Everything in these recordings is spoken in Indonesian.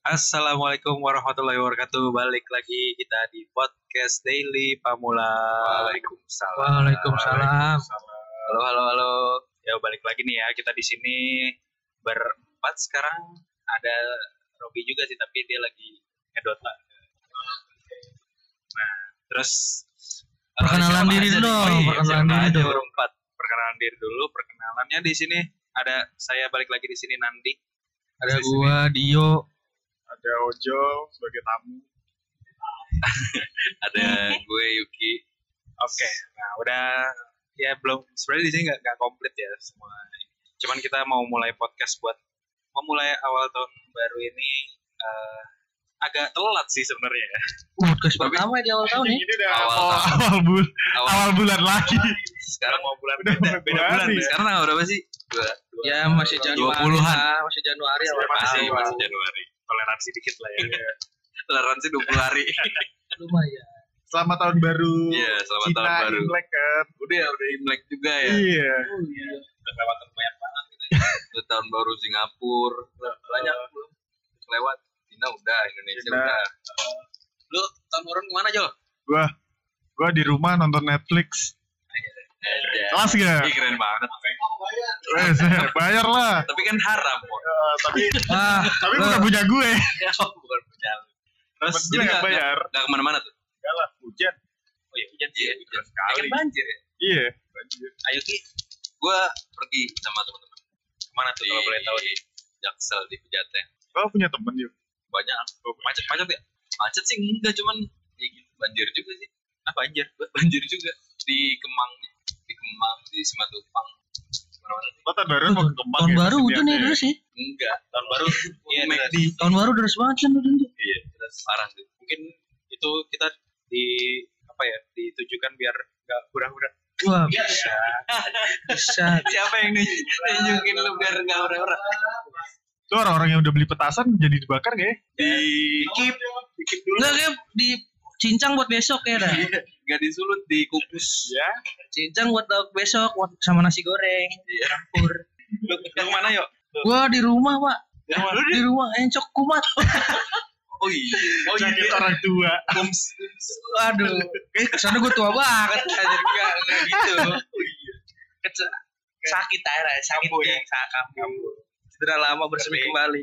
Assalamualaikum warahmatullahi wabarakatuh. Balik lagi kita di podcast Daily Pamula. Waalaikumsalam. Waalaikumsalam. Halo, halo, halo. Ya balik lagi nih ya. Kita di sini berempat sekarang. Ada Robi juga sih, tapi dia lagi ngedot lah. Nah, terus eh, Perkenalan siapa diri aja dulu nih? Oh dong, iya, perkenalan siapa diri aja dong. berempat. Perkenalan diri dulu. Perkenalannya di sini ada saya balik lagi di sini Nandi. Ada Di sini. gua Dio. Uh, Ada Ojo sebagai tamu. ada gue Yuki. Oke, nah udah ya belum sebenarnya di sini nggak nggak komplit ya semua. Cuman kita mau mulai podcast buat memulai awal tahun baru ini eh, agak telat sih sebenarnya. ya. Podcast Tapi- pertama di awal tahun ya. Ini udah Awal mau tahun. Awal bulan, Awal awal bulan lagi. sekarang mau bulan Udah beda, mau beda bulan bulan. ya. nih. Sekarang tanggal berapa sih? Dua, dua- Ya masih Januari. 20-an. lah, masih Januari awal Iya, masih tahun. masih Januari. Toleransi dikit lah ya. Toleransi 20 hari. Lumayan. selamat tahun baru. Iya, selamat Cina tahun baru. Imlek kan. Udah ya, udah Imlek juga ya. Iya. Oh, iya. Kelewatan banyak banget kita. ya. Udah tahun baru Singapura, banyak belum lewat. Cina udah, Indonesia Cina. udah. Lu tahun baru kemana Jol? Gua gua di rumah nonton Netflix. Aja. Kelas gak? Ih keren banget. Iya. Wes, bayar lah. Tapi kan haram. Mon. tapi Ah, tapi Lah. bukan punya gue. Ya, bukan punya lu. Terus Temen gue jadi yang nggak bayar. nggak kemana-mana tuh. Enggak lah, hujan. Oh iya hujan sih. ya, Hujan sekali. Kan banjir ya. Iya. Ayo ki, gue pergi sama teman-teman. Kemana tuh kalau Di- boleh tahu di Jaksel di Pejaten. Kau punya temen yuk. Banyak macet macet ya. Macet sih enggak cuman ya gitu banjir juga sih. Ah banjir, banjir juga di Kemang ya. di Kemang di Simatupang. Mana-mana sih. Kau tahun baru Tuh, mau ke Kemang tahun ya, baru pasti hujan ada ya deras sih. Enggak, tahun baru iya, McD. Tahun baru deras banget kan hujan. tuh. Iya, terus parah tuh. Mungkin itu kita di apa ya, ditujukan biar enggak hura-hura. Wah, Iya. bisa. Bisa. Siapa yang nunjukin lu biar enggak hura-hura? Tuh orang-orang yang udah beli petasan jadi dibakar gak ya? Di keep, Bikin dulu. Enggak kayak di cincang buat besok ya Iya. dah. enggak disulut di kukus. Ya. Cincang buat lauk besok buat sama nasi goreng. Iya. Campur. Lu yang mana yuk? Gua di rumah, Pak. Yang mana? Di rumah encok kumat. Oh iya. Oh iya. Sakit orang tua. Homes. Aduh. Eh, kesana gua tua banget. Anjir, enggak, enggak gitu. Oh iya. Kece- sakit air aja, sakit Kambuh ya? ya, kambuh. Cedera lama bersemi Tapi- kembali.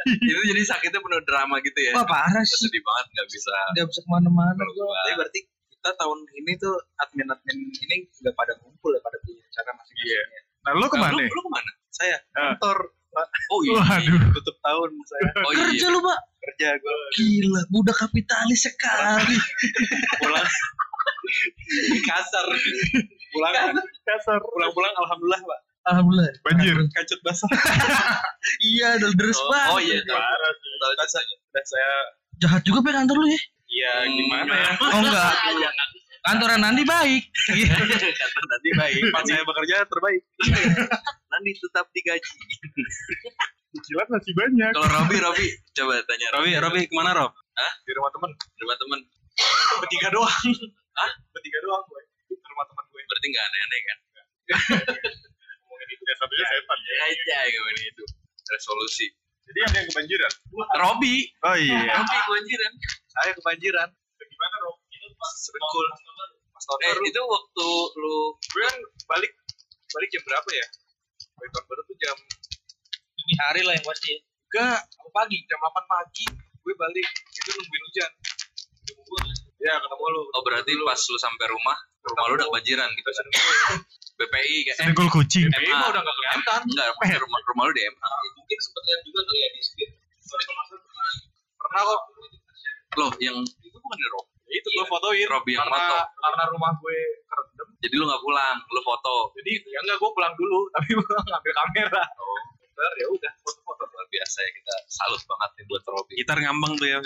Itu jadi sakitnya penuh drama gitu ya. Oh, Wah parah sih, Sedih banget nggak bisa nggak bisa kemana-mana gua. berubah. berarti kita tahun ini tuh admin-admin ini udah pada ngumpul ya pada punya cara masing-masing. ya. Iya. Nah lu Nah, kemana? Lu, lu kemana? Saya Ah. kantor Oh iya. Waduh. tutup tahun saya Oh iya. Kerja lu pak, kerja gue gila, budak kapitalis sekali. pulang kasar pulang kan? Kasar. pulang-pulang alhamdulillah pak Alhamdulillah. Banjir. Nah. kancut basah Iya, udah deres Oh, banget. oh iya. tahu. Parah sih. tahu rasanya udah saya Jahat juga pak kantor lu ya? iya Hmm, gimana ya Oh enggak, Iya, kantoran nanti baik. Iya. Kata tadi baik. tempat saya bekerja terbaik nanti tetap digaji Cicilan masih banyak. Kalau Robi, Robi coba tanya. Robi, Robi kemana Rob? Di rumah temen. Di rumah temen. bertiga doang ah bertiga doang gue Di rumah teman gue Berarti nggak aneh-aneh kan? Ngomongin itu ya satunya setan Iya, ya. Aja gimana itu. Resolusi. Jadi ada yang kebanjiran. Robi, Oh iya. Robi kebanjiran. saya kebanjiran Gimana Rob? sedekul pas tahun Eh baru itu waktu lu gue kan balik balik jam berapa ya balik tahun baru tuh jam Ini hari lah yang pasti. ya. Enggak, aku pagi jam 8 pagi gue balik itu nungguin hujan. Ketemu gue. Ya ketemu lu. oh berarti pas lu sampai rumah rumah lu udah kebanjiran gitu kan? BPI kayak eh, Sedengkul kucing. MA. Ini mah udah gak kelihatan. Enggak, rumah rumah lu di MA. Mungkin sempet lihat juga kali ya di speed. Soalnya kalau pernah pernah kok. Loh, yang itu bukan di Rob. Ya, itu Iya. gue fotoin. Robi yang karena, foto. Iya, karena rumah gue kerendam. Jadi lu nggak pulang, lu foto. Jadi ya enggak gue pulang dulu. Tapi gue ngambil kamera. Oh, Ntar ya udah foto-foto. luar biasa ya kita salut banget nih buat Robi. Gitar ngambang tuh ya.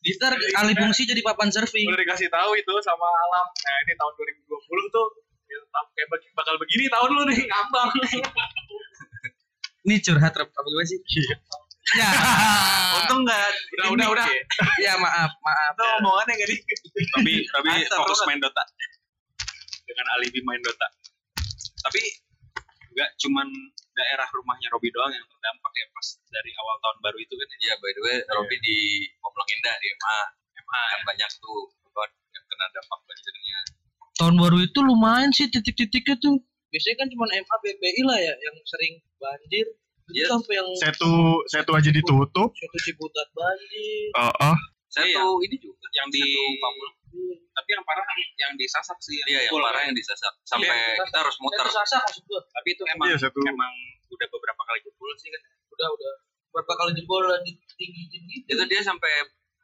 Gitar alih fungsi jadi papan surfing. Udah dikasih tahu itu sama alam. Nah ini tahun 2020 tuh. ya, Kayak bagi- bakal begini tahun lu nih ngambang. Ini curhat Rob, apa gimana sih? Ya, Iya. Untung nggak. Udah udah udah. ya maaf, maaf. Itu omongannya gak di Robi, Robi Asal fokus banget. main Dota. Dengan alibi main Dota. Tapi nggak cuman daerah rumahnya Robi doang yang terdampak ya pas dari awal tahun baru itu kan ya. Iya, by the way, Robi di Pemlong Indah di MA. MA ya. kan banyak tuh korban yang kena dampak banjirnya. tahun baru itu lumayan sih titik-titiknya tuh biasanya kan cuma MA BPI lah ya yang sering banjir itu Iya. sampai yang Satu satu aja ditutup. satu Ciputat banjir Oh, oh. Satu Iya. ini juga yang di satu Pamulang. tapi yang parah yang disasar sih Iya, yang pukul. parah yang disasar. Sampai Iya. kita harus muter. itu sasa maksud gua tapi itu emang Iya, satu. emang udah beberapa kali jebol sih kan udah udah berapa kali jebol gitu. lanjut tinggi tinggi Iya kan? Itu dia sampai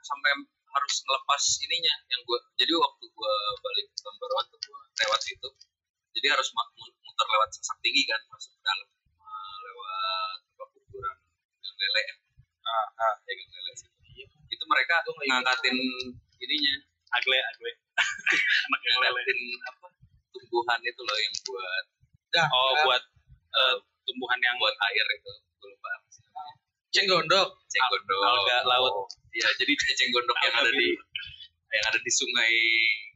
sampai harus ngelepas ininya yang gua. Jadi waktu gua balik ke tahun baruan tuh gua lewat situ. Jadi harus ma- mu- muter lewat sasak tinggi kan masuk ke dalam Eh, lewat apa kuburan yang lele ya. Ah, ah, ya, Gang lele situ. Itu mereka ngangkatin ininya agle agle anak yang lele ngeliatin apa tumbuhan itu loh yang buat oh buat eh, tumbuhan yang buat air itu Gua lupa apa sih namanya. cenggondok cenggondok Ah, alga laut ya jadi dia cenggondok Oh. yang ada di yang ada di sungai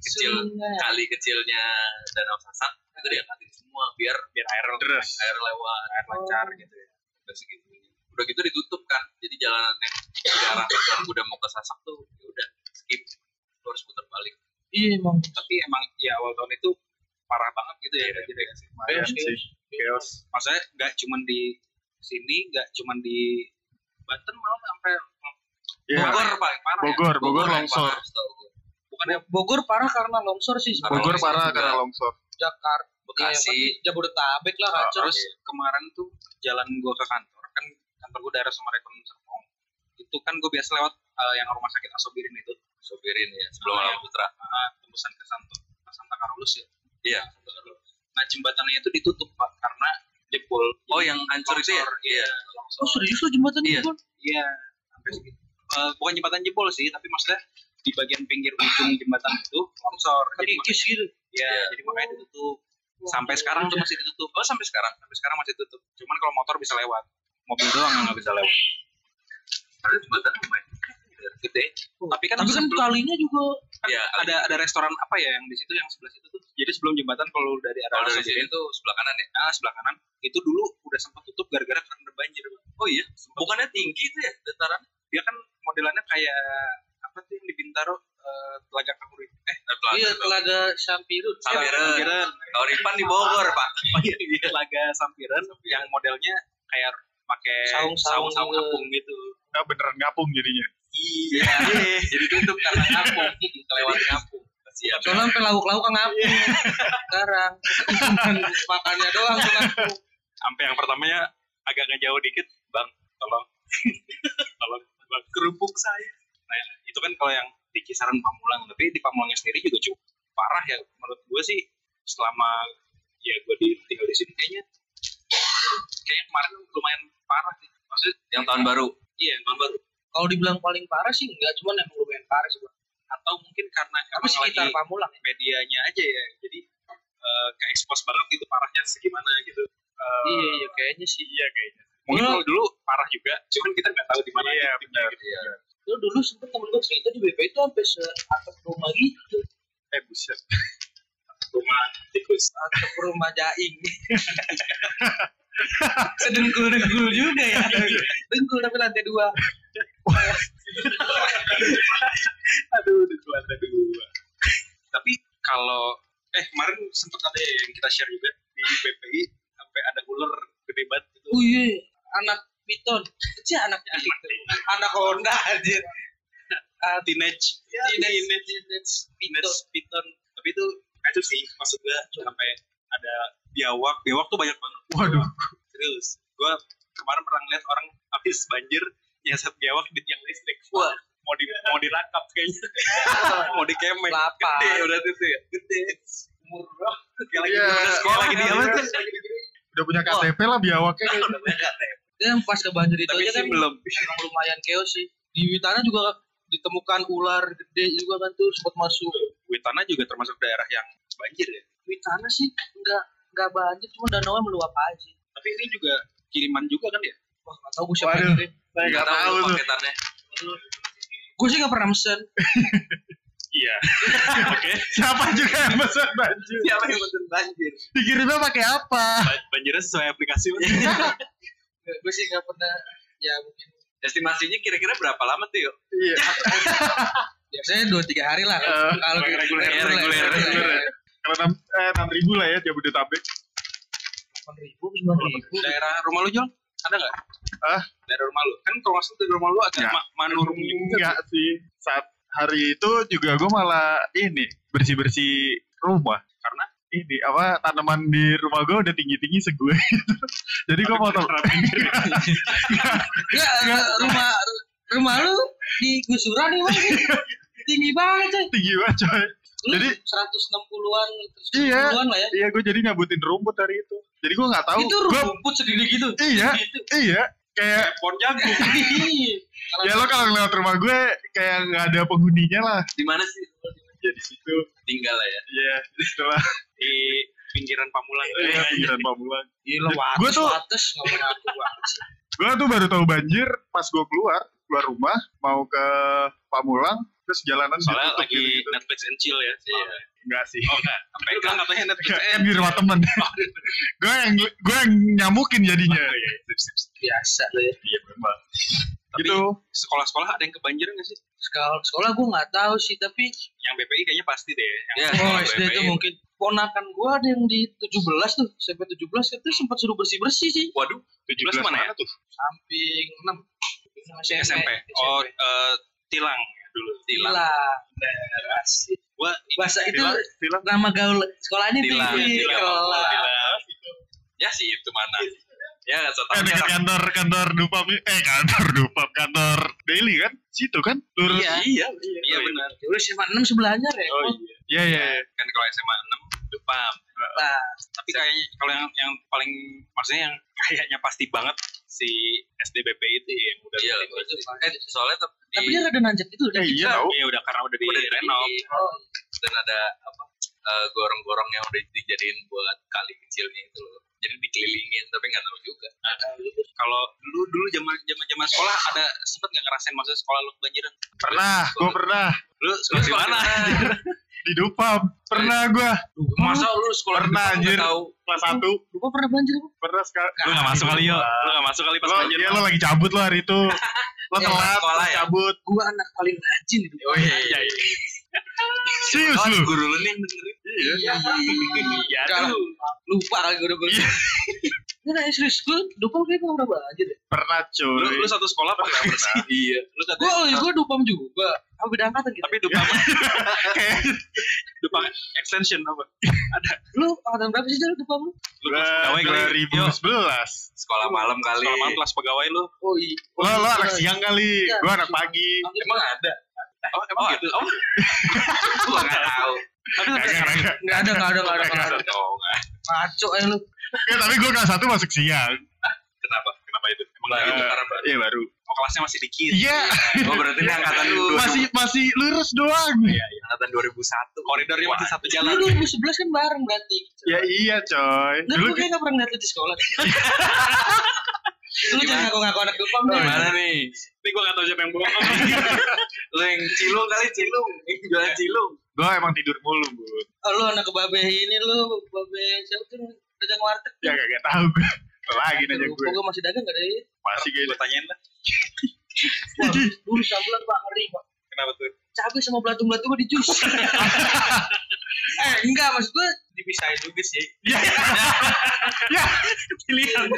kecil Sungai. kali kecilnya danau sasak itu dia katin semua biar biar air Deres. air lewat air lancar gitu ya udah segitu udah gitu ditutup kan jadi jalanan yang ke arah yang udah mau ke sasak tuh ya udah skip Lu harus putar balik iya emang tapi emang ya awal tahun itu parah banget gitu ya Iya, banjir ya sih. Lumayan Chaos, Iya sih. Chaos. maksudnya nggak cuman di sini nggak cuman di Banten malah sampai Iya. Bogor paling parah ya. Bogor, Bogor yang longsor. parah, setahu gua. bukan yang Bogor parah karena longsor sih Parah Bogor longsor parah juga. karena longsor. Jakarta Bekasi Jabodetabek lah kacau Nah, terus ya. kemarin tuh jalan gua ke kantor kan kantor gua daerah Sumarekon Serpong itu kan gua biasa lewat eh, yang rumah sakit Asobirin itu sopirin ya sebelum Ah, alam iya. putra eh, tembusan ke Santo ke Santa Carolus ya iya nah jembatannya itu ditutup pak karena jebol oh yang hancur itu ya Longsor, iya oh serius lo jembatan Iya. Bogor? iya sampai segitu Eh, bukan jembatan jebol sih tapi maksudnya di bagian pinggir ujung jembatan itu longsor jadi kikis gitu Iya, Iya. jadi makanya ditutup. Sampai sekarang tuh masih ditutup. Oh, sampai sekarang. Sampai sekarang masih tutup. Cuman kalau motor bisa lewat. Mobil doang yang nggak bisa lewat. ada jembatan lumayan gede Tapi kan, tapi kan sebelum- kalinya juga kan Iya, ada ada restoran apa ya yang di situ yang sebelah situ tuh. Jadi sebelum jembatan kalau dari arah kalau dari sini sini tuh sebelah kanan ya nah, sebelah kanan itu dulu udah sempat tutup gara-gara karena banjir. oh iya bukannya tinggi tuh ya dataran Dia kan modelannya kayak apa tuh yang di Bintaro eh, Telaga Kahuri. Eh, Eh, Telaga. iya telaga Iya. Sampiru Sampiran. Sampiran. Kauripan di Bogor pak Telaga Sampiran yang modelnya kayak pakai Saung-saung. saung-saung apung gitu. Nah, beneran ngapung jadinya. iya jadi tutup karena ngapung kelewat ngapung kasihan Soalnya sampai lauk-lauk kan ngapain Iya. sekarang. Makannya doang tuh ngaku. sampai yang pertamanya agak ngejauh dikit bang tolong tolong bang kerupuk saya nah itu kan kalau yang di kisaran Pamulang tapi di Pamulangnya sendiri juga cukup parah ya menurut gue sih selama ya gue di tinggal di sini kayaknya kayaknya kemarin lumayan parah sih maksudnya yang tahun baru iya yang tahun baru Kalau dibilang paling parah sih enggak, cuman emang lumayan parah sih. Bang. atau mungkin karena Tapi emang sekitar lagi Pamulang. medianya aja ya jadi eh, ke expose banget gitu parahnya segimana gitu Eh, Iya, iya kayaknya sih. iya kayaknya mungkin Iya. kalau dulu parah juga cuman kita nggak tahu di mana Iya, titiknya benar. gitu ya. Lu dulu sempet temen gue cerita di BP itu sampai se atap rumah gitu, Eh, buset. rumah tikus atap rumah jaing. Sedengkul-dengkul juga ya. Iya. Dengkul tapi lantai dua. aduh di lantai dua tapi kalau eh kemarin sempet ada yang kita share juga di BPI sampai ada ular gede banget gitu Oh iya, anak piton. Cih anaknya piton. Anak Honda anjir. Ah, teenage Ya, teenage teenage teenage python tapi itu kacau sih maksud gue sampai ada biawak biawak tuh banyak banget Waduh. serius gue kemarin pernah ngeliat orang habis banjir nyasar biawak di tiang listrik Wah. mau di mau dirangkap kayaknya mau dikemek Lapar. gede berarti itu ya gede umur berapa Kayak lagi Iya. di mana sekolah lagi di apa tuh Udah punya KTP lah biawaknya. Dan Ya, pas ke banjir itu tapi aja sih kan belum emang lumayan chaos sih. Di Witana juga ditemukan ular gede juga kan tuh sempat masuk. Witana juga termasuk daerah yang banjir ya Witana sih nggak nggak banjir, cuma danau meluap aja. tapi ini juga kiriman juga kan ya Wah nggak tahu gue siapa Waduh. yang Saya nggak tahu tuh. paketannya Gue sih nggak pernah mesen. Iya. Oke. Siapa juga yang pesan banjir? Siapa yang mesen banjir? Dikirimnya pakai apa? Ban- Banjirnya sesuai aplikasi. Mas. Gue sih nggak pernah. Ya mungkin Estimasinya kira-kira berapa lama tuh yuk? Iya, biasanya dua tiga hari lah. Eh, Kalau yang reguler, reguler, reguler, reguler. Kalau enam eh, enam ribu lah ya Jabodetabek. Delapan ribu, sembilan ribu. Daerah rumah lu Jol? Ada nggak? Hah? Daerah rumah lu? Kan kalau nggak salah dari rumah lu agak Ya. ma manurung juga. Enggak sih. Saat hari itu juga gue malah ini bersih bersih rumah. Karena? ini apa tanaman di rumah gue udah tinggi tinggi segue. gitu. Jadi gue mau tau. Enggak, rumah rumah lu di gusuran nih, Bang. Tinggi banget, coy. tinggi banget coy. Lu Jadi- 160-an, Iya. 170-an lah ya. Iya gue jadi nyabutin rumput hari itu. Jadi gue nggak tahu. Itu Gua- rumput segede gitu. iya iya kayak Pohon jagung. ya lo kalau lewat rumah gue kayak nggak ada penghuninya lah. Di mana sih? Jadi situ Tinggal lah ya. ya setelah Di pinggiran Pamulang. ya, pinggiran iya. Pamulang. Gila, wates, Gua tuh- wates. Ngomongin aku, wates. Gue tuh baru tahu banjir pas gue keluar keluar rumah mau ke Pamulang terus jalanan Soalnya ditutup lagi gitu-gitu. Netflix and chill ya. Iya. enggak sih. Oh enggak. Lu bilang katanya Netflix. Enggak, Eh, Iya. di rumah temen. gue yang gue yang nyamukin jadinya. Biasa lah ya. Ah, Iya memang. Tapi- Gitu. sekolah-sekolah ada yang kebanjiran nggak sih? Sekolah, sekolah gue nggak tahu sih, tapi Yang BPI kayaknya pasti deh. Iya. Ya, oh yang SD BPI. itu mungkin ponakan gue ada yang di 17 tuh, SMP 17 itu sempat suruh bersih-bersih sih. Waduh, 17 17 mana ya? tuh? Samping 6 SMP. SMP. Iya, Oh, eh, Tilang dulu. Tilang. Gila. Gua Bahasa itu Silang- silang. nama gaul sekolahnya Iya. tuh Tilang, ini. tilang. Kelas. Iya. Tilang. Ya sih itu mana? Ya nggak so Eh, tau. dekat kantor kantor Dupam eh kantor Dupam kantor Daily kan situ kan Lurus. Iya, iya, iya benar. Ya udah SMA 6 sebelahnya repot. Oh iya. Iya iya. iya. Kan kalau SMA 6 Dupam. Nah, Tapi kayaknya kalau yang yang paling maksudnya yang kayaknya pasti banget si SDBP itu ya, yang udah Iya, bikin. pasti. eh soalnya tapi tapi di dia rada nanjak gitu itu Eh, udah. iya tahu. Iya, udah karena udah di udah di renov. Oh, dan ada apa eh, gorong-gorong yang udah dijadiin buat kali kecilnya itu loh. Jadi dikelilingin tapi nggak tahu juga. Kalau dulu dulu zaman zaman zaman sekolah ada sempet nggak ngerasain masa sekolah lu kebanjiran? Pernah, gue pernah Lu sekolah di mana? di Dupam. Pernah gue Masa lu sekolah di Pernah, Jepang nggak anjir. tahu? kelas 1 lupa pernah banjir apa? pernah sekali. Lu nggak masuk kali yo. Lu nggak masuk kali Nah, pas Lo, banjir. iya, lo lagi cabut lo hari itu. Lo Eh, telat, sekolah lo ya? cabut. Gua anak paling rajin itu. Oh iya iya. iya. Serius Oh, lu. guru lu nih yang dengerin. Iya. Iya, Kalau lupa kali gue udah gue. Enggak, serius gue dupam kayaknya nggak pernah banjir deh. Pernah Lu, cuy. lu satu sekolah apa nggak pernah? Iya. Lu satu Iya. Gue oh, iya, gue dupam juga. Apa Oh, beda angkatan gitu. kita? tapi Dupam kayak Dupam extension apa? Lu angkatan berapa sih Jal, dupam lu? Lu kelas pegawai kali. Yo, 2011. Sekolah malam kali. Sekolah malam kelas pegawai lu. Oh iya. Lo, lo anak siang kali. Iya. Gue anak pagi. Emang ada? Oh, emang Oh, gitu. oh. Gua nggak tahu. Aduh, Kan Kagak, kagak. Enggak ada, enggak ada, enggak ada, nggak ada. Oh, nggak. Ngaco eh lu. Ya, tapi gue kelas 1 masuk siang. Kenapa? Kenapa itu? Emang Eh, itu karena baru. Iya baru. Nah, oh, kelasnya masih dikit. Iya. Oh berarti ini angkatan lu. Masih masih lurus doang. iya. angkatan 2001. Koridornya masih satu jalan. Lu 2011 kan bareng berarti. Ya iya coy. Lu Dulu gue kayaknya nggak pernah ngeliat lu di sekolah. Lu jangan ngaku-ngaku anak dupam deh. Gimana nih? Tapi gua nggak tahu siapa yang bohong. Lu yang cilung kali cilung. Yang jualan Iya. cilung. gue emang tidur mulu, Bu. Oh, lu anak kebabe ini lu kebabe siapa tuh dagang warteg Ya kagak tahu gue. Lagi nanya gue. gue masih dagang gak ada ya Masih Gua kayak tanyain lah. dulu sabulan pak ngeri pak Kenapa tuh? cabai sama belatung belatung gue di jus eh enggak maksud gue Dipisahin juga sih. Iya. pilihan.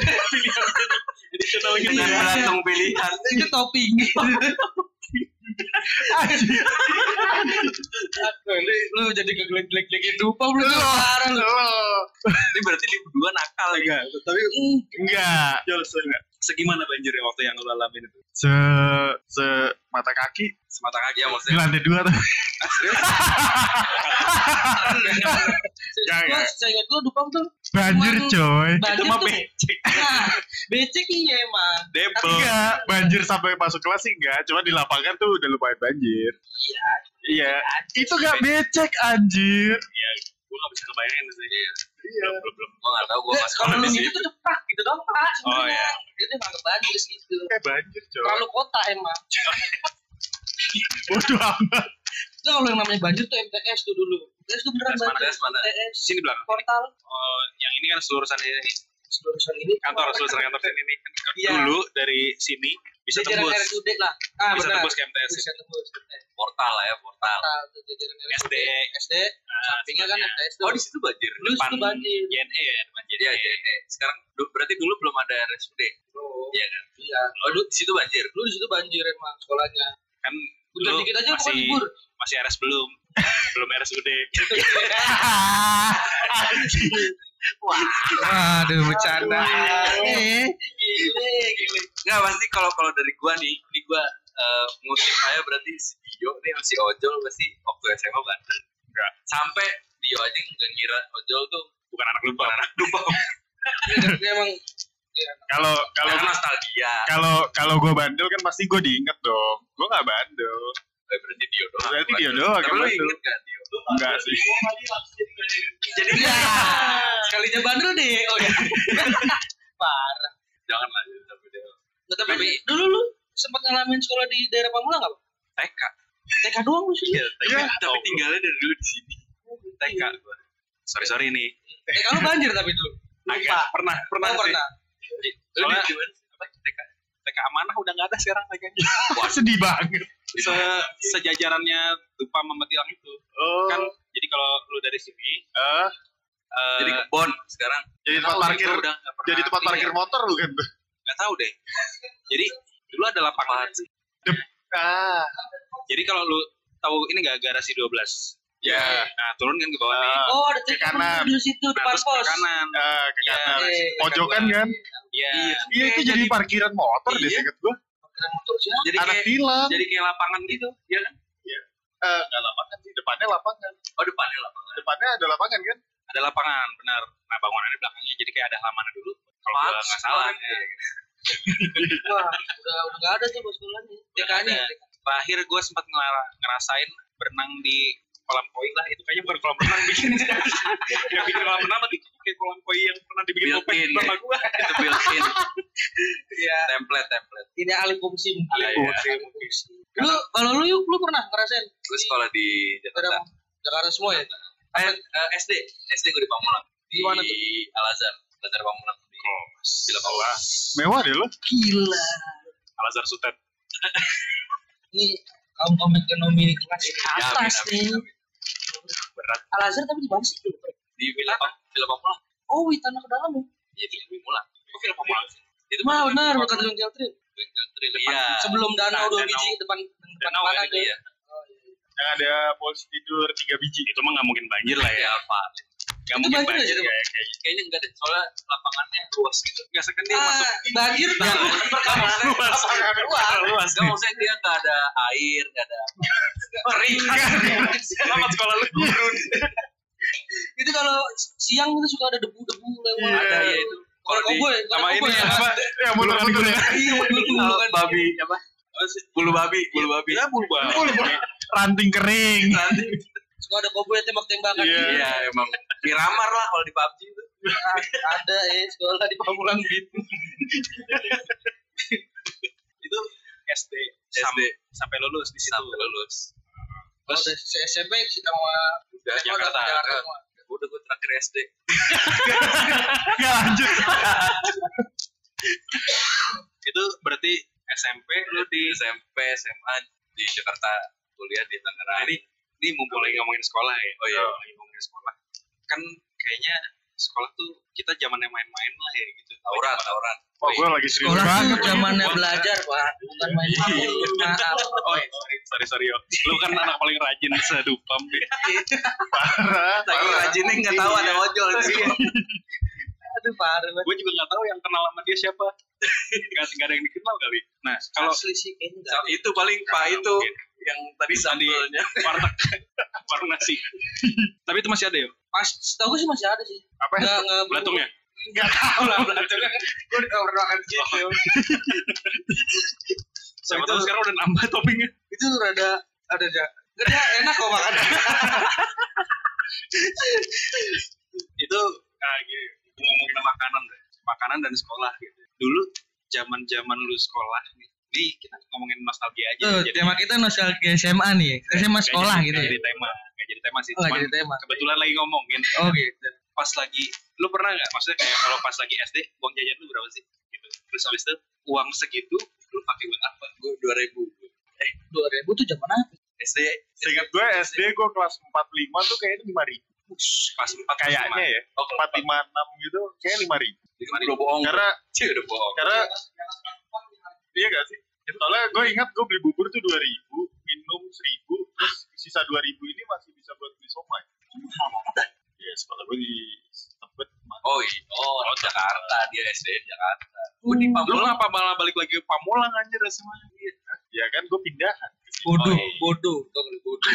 Jadi kita lagi Dengan Iya. beratung pilihan. itu topping lu, lu jadi ngegelek-gelek-gelekin dupa lu Lu. parah lu Lo. Ini berarti di berdua nakal ya. Tapi ya, Enggak. jelas enggak. Segimana banjirnya waktu yang lu alamin itu? Se se mata kaki Semata kaki ya di maksudnya. lantai dua tuh. gue Enggak. saya ingat gue dupam tuh Banjir Cuman- coy. banjir mah tuh nah becek iya emang Debel. Enggak, Iya, banjir sampai masuk kelas sih enggak, cuma di lapangan tuh udah lumayan banjir. Iya. Iya. Itu enggak becek anjir. Iya, Gua nggak bisa ngebayangin sih. Iya. Belum belum. Gua nggak tahu gua Nggak, nggak kalau sekolah lu di gitu situ. tuh deprak gitu dong pak Oh, iya. sebenarnya dia tuh nggak banjir gitu Kayak banjir coy. terlalu kota emang Bodoh amat. Itu kalau yang namanya banjir tuh MTS tuh dulu. MTS tuh beneran Terus mana? banjir. Terus mana? MTS, Sini belakang. portal, Oh, yang ini kan selurusan ini. selurusan ini. Kantor, selurusan kantor sini nih. Iya. Dulu dari sini bisa Jajaran tembus. RSUD lah. Ah, Bisa benar. tembus ke MTS. Bisa tembus. MTS. portal lah ya portal Portal tuh jajaran RSUD. SD. SD, Ah, sampingnya kan MTS tuh. oh di situ banjir Dulu depan itu banjir. JNE ya, depan JNE. Iya, iya, iya. Sekarang du- berarti dulu belum ada RSUD. Oh, Iya kan? iya. Oh, dulu di situ banjir. Dulu di situ banjir emang sekolahnya. Kan Udah Lu dikit aja kok masih- libur. masih RS belum. belum RSUD. Aduh, bercanda. Enggak, pasti kalau kalau dari gua nih, ini gua eh, ngutip saya berarti si Dio nih sama si Ojol pasti waktu SMA bandel. Enggak. kan? Sampai Dio aja nggak ngira Ojol tuh Bukan anak lupa. anak lupa. Iya, Emang iya. Kalau kalau Karena nostalgia. kalau kalau gue bandel kan pasti gue diinget dong. Gue nggak bandel. Eh, berarti Dio doang. Berarti Dio doang Tapi yang lu bandel. inget gak Dio? Enggak sih. Jadi Ya. Sekalinya bandel deh. Oh ya. Parah. jangan lanjut tapi Dio. Nah, tapi, Tapi- dulu lu sempat ngalamin sekolah di daerah Pamulang enggak? Eh, TK. TK doang lu Iya. sih. Tapi, tapi tinggalnya dari dulu di sini. TK gua. Sorry sorry nih. TK lu banjir tapi dulu. Agak pernah pernah, Oh, sih. pernah. Lu di Soalnya- gimana sih? Apa? TK. TK amanah udah nggak ada sekarang kayaknya. Wah sedih banget. Se sejajarannya dupa membetilang itu. Oh. Kan jadi kalau lu dari sini eh, eh, Jadi kebon sekarang. jadi tempat tahu sih, parkir gua udah nggak pernah jadi tempat ini ya. parkir motor kan? bukan tuh. nggak tahu deh. Jadi dulu ada lapangan. Ah. Jadi kalau lu tahu ini nggak garasi 12. Iya. Ya. Nah, turun kan ke bawah nih. eh, Oh, ada Ke TK kanan. dulu situ Nah, depan terus ke pos. kanan. eh, ke Iya, kanan. eh, Pojokan kedua. kan? Iya. Iya itu jadi, parkiran motor deh Iya. seinget gue. Kira motor siapa? Jadi Anak kayak film. jadi kayak lapangan gitu, ya kan? Eh, nggak lapangan sih. Depannya lapangan. Oh depannya lapangan. Depannya ada lapangan kan? Ada lapangan, benar. Nah, bangunannya belakangnya jadi kayak ada halaman dulu. Kalau gua Pantes nggak salah. banget ya. Wah, udah udah enggak ada tuh bos sekolahnya. TK-nya. ada. Terakhir gue sempat ngelara- ngerasain berenang di kolam koi lah itu kayaknya bukan kolam renang bikin yang bikin kolam renang tapi kayak kolam koi yang pernah dibikin Built Popeye in, sama ya. gue Itu built-in Iya. template template. Ini alih fungsi. Iya, iya. Alih fungsi. Lu kalau lu yuk lu pernah ngerasain Gue sekolah di Jakarta. daerah Jakarta semua ya? Eh, eh, SD, SD gue di Pamulang. Di mana tuh? Al Azhar, Al Azhar Pamulang. Di Villa Pamulang. Mewah deh lo. Gila. Al Azhar Sutet Ini kaum kaum ekonomi kelas Ya, amin, atas amin, nih. amin. Berat Al Azhar tapi di mana sih? di Villa Pam- Villa Pamulang. Oh, wih, tanah ke dalam ya? Iya Villa Pamulang. Kok Villa Pamulang? sih? Itu Wah, bukan benar Villa dekat Pamulang. Gunung Keltri. Bukan Tril, Iya. Sebelum danau Nah, dua danau. biji depan depan Danau mana ya, tuh? Iya. Oh, iya. Yang ada polisi tidur tiga biji. itu mah nggak mungkin banjir lah ya Ya apa? nggak Itu mungkin banjir banjir ya, ya kayaknya Kayaknya enggak deh. Soalnya lapangannya luas gitu. nggak sekendir masuk Ah, banjir tuh. Perkampungan. luas Wah, luas Enggak maksudnya dia enggak ada air, enggak ada kering selamat sekolah lu gurun itu kalau siang itu suka ada debu-debu lewat. Iya. ada ya itu. Kalau di- koboi, kalau sama ini koboi ya. yang Mas. apa Ya mau Bulungan tidur gue. Iya, dulu kan babi apa? Bulu babi, bulu babi. ya bulu banget Ranting kering. suka ada koboi tembak-tembakan. Iya. Iya, emang diramar lah kalau di PUBG itu. Ah, ada eh sekolah di Pamulang gitu. itu SD SD Sam- sampai lulus di situ sampai lulus. Terus SMP sih sama Udah Jakarta Jakarta. Jakarta. semua. Udah gue terakhir SD. Gak lanjut. itu berarti SMP lu di SMP, SMA di Jakarta, kuliah di Nah, Tangerang. ini ini mumpung lagi ngomongin sekolah ya. Oh, iya. lagi ngomongin sekolah. Kan kayaknya sekolah tuh kita zamannya main-main lah ya gitu. tawuran, tawuran. Wah gue lagi serius Sekolah banget. tuh zamannya belajar, Pak. Bukan main main. Maaf. iya. Oh, iya, sorry, sorry, sorry, yo. Lu kan anak paling rajin ya. sedupam deh. Parah. Tapi parah. rajinnya enggak tahu ada ojol di sini. Aduh, parah banget. Gue juga nggak tahu yang kenal sama dia siapa. Gak, gak ada yang dikenal kali. Nah, kalau Kalau asli sih kayaknya enggak. Sama Itu paling Pak itu Mungkin. yang tadi sambelnya. warteg warung nasi. Tapi itu masih ada ya? Pas tahu gue sih masih ada sih. Apa ya? Enggak enggak Belatungnya? Enggak tahu lah belatungnya. Gue udah pernah makan gitu. Siapa Itu- tahu sekarang udah nambah toppingnya. Itu rada ada ja. Enggak enak kok makan. Itu nah, gini, ngomongin makanan deh. Makanan dan sekolah gitu. Dulu zaman-zaman gitu. lu sekolah nih. Ini Jadi kita ngomongin nostalgia aja. Tuh, jadi Oh, Eh, Iya, tema kita nostalgia SMA nih. SMA nggak sekolah jadi, gitu. nggak ya. jadi tema, nggak jadi tema sih. Oh, Cuman jadi tema. kebetulan lagi ngomongin Oh gitu. pas lagi lu pernah nggak maksudnya kayak kalau pas lagi SD uang jajan lu berapa sih gitu terus habis itu uang segitu lu pakai buat apa gue dua ribu 2000 tuh zaman apa? SD Seingat gue SD gue kelas 45 tuh kayaknya lima ribu. pas empat Kayaknya ya. Oh. oh Empat lima enam gitu kayaknya lima ribu. udah bohong Karena Cih, udah bohong karena iya gak sih? Soalnya gue ingat gue beli bubur tuh dua ribu, minum seribu, terus sisa dua ribu ini masih bisa buat beli somai. Iya, sekolah gue di tempat oh iya oh, Jakarta dia SD Jakarta gue di Pamulang apa malah balik lagi ke Pamulang anjir semuanya Ya kan gue pindahan. Bodoh, Oh, iya. bodoh. kan? Tuh udah bodoh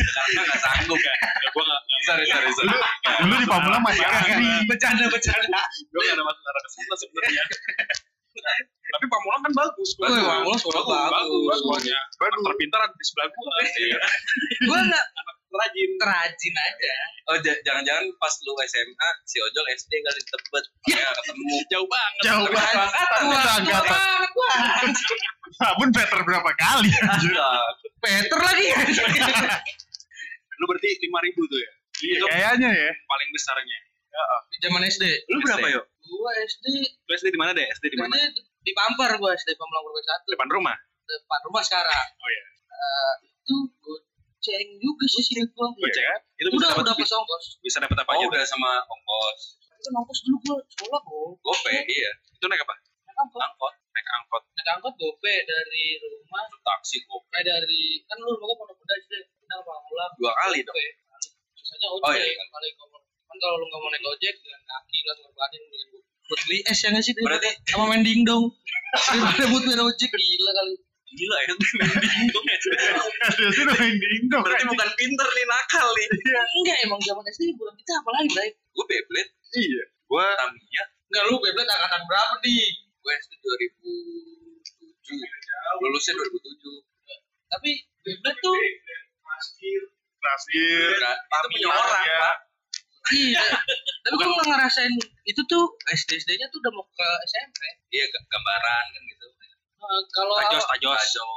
Jakarta nggak sanggup kan gue nggak sorry sorry sorry Dulu di ya. Pamulang masih asri. Bercanda, bercanda. gue gak Iya, ada masalah ke sana sebenarnya tapi Pamulang kan bagus Wah, Pamulang sekolah bagus. sekolahnya terpintar ada di sebelah gua Gua enggak rajin rajin aja. oh ja- jangan-jangan pas lu SMA si Ojol SD kali tebet ya ketemu jauh banget Jauh Tua, banget. tua Angkatan. banget gua. Sabun Peter berapa kali? Iya. Peter lagi. lu berarti lima ribu tuh ya itu Kayaknya ya. paling besarnya Zaman SD. lu berapa yuk Gua SD lu SD di mana deh SD di mana SD di Pampar gua SD Pamulang Purwo 1 depan rumah depan rumah sekarang. Oh, iya. Eh, itu goceng juga sih sini gua. Iya. Goceng. Iya. itu bisa Udah dapat udah pas ongkos. bisa dapat apa oh aja tuh? udah sama ongkos Tapi kan ongkos dulu gua sekolah gua. gope iya itu naik apa Naik angkot. angkot naik angkot Naik angkot gope dari rumah taksi gope eh dari kan lu rumah gua pondok pedas deh. Kenal Pamulang. dua kali dong Oke. Susahnya ojek Oh, iya, iya. paling kalau kan kalau lu nggak mau naik ojek jalan kaki lah ngorbanin mendingan gua buat beli es ya nggak sih berarti sama main dingdong daripada buat main ojek gila kali gila ya bingung ya Dia sih udah main kan? dingdong. berarti bukan pinter nih nakal nih enggak emang zaman SD hiburan kita apa lagi Bray gue beblet Iya. gua Tamiya enggak lu beblet angkatan berapa nih gue SD Hmm, 2007 lulusnya 2007 tapi beblet tuh Rasir. Nah, itu punya Iya. Tamiya. orang pak iya tapi Bukan- kalau nggak ngerasain itu tuh SD SD nya tuh udah mau ke SMP iya ga- gambaran kan gitu Nah, kalau tajos awal- tajos Sajo.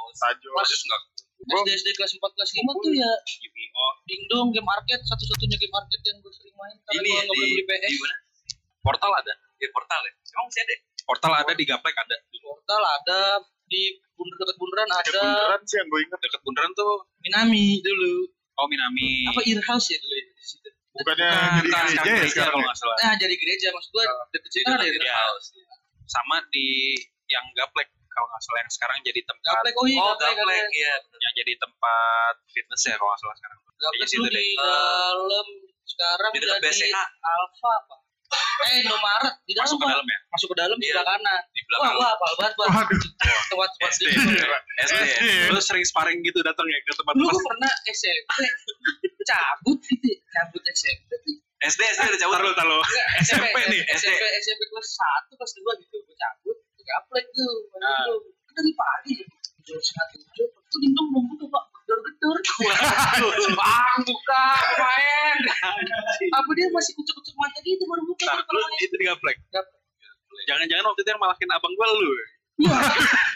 tajos nggak SD SD kelas 4 kelas 5 tuh ya dingdong game arcade satu-satunya game arcade yang gue sering main karena ini gue ya, nggak di, boleh beli PS di mana portal ada ya portal ya emang masih ada ya? portal ada di gaplek ada Portal ada di bundar dekat bundaran Ya ada beneran sih yang gue inget. deket bundaran tuh Minami dulu. oh Minami Apa Irhouse ya dulu ya di situ. Bukannya Nah, jadi Nah, gereja ya gereja sekarang. kalau ya? nggak salah Nah, jadi gereja maksud gua deket situ kan ada Ada ya. house sama di yang gaplek kalau nggak salah yang sekarang jadi tempat Gaplek oh iya oh gaplek ada. gaplek ya yang jadi tempat fitness ya kalau nggak salah sekarang Gaplek Di situ dulu deh. di dalam sekarang di dekat jadi BCA Alfa apa? Eh Indomaret di dalam masuk ke Pak. dalam ya masuk ke dalam Iya. sebelah kanan. di Wah, belakang gua hafal banget, Bang. Waduh. Tempat tempat SD. itu. Iya, SD SD. Eh, lu sering sparring gitu datang ya ke tempat Dulu pas gua pernah SMP cabut gitu, cabut SMP tuh SD SD udah cabut taruh taruh Enggak, SMP nih, SMP SMP kelas 1 kelas 2 gitu gue cabut gue gaplek tuh main dulu. Kan dari pagi jam setengah tujuh itu dinding belum buka pak gedor gedor bang buka main apa dia masih kucuk kucuk mata gitu baru buka Ntar, baru lu kelar. itu di gaplek Gaplek. jangan-jangan waktu itu yang malakin abang gua lu Wah,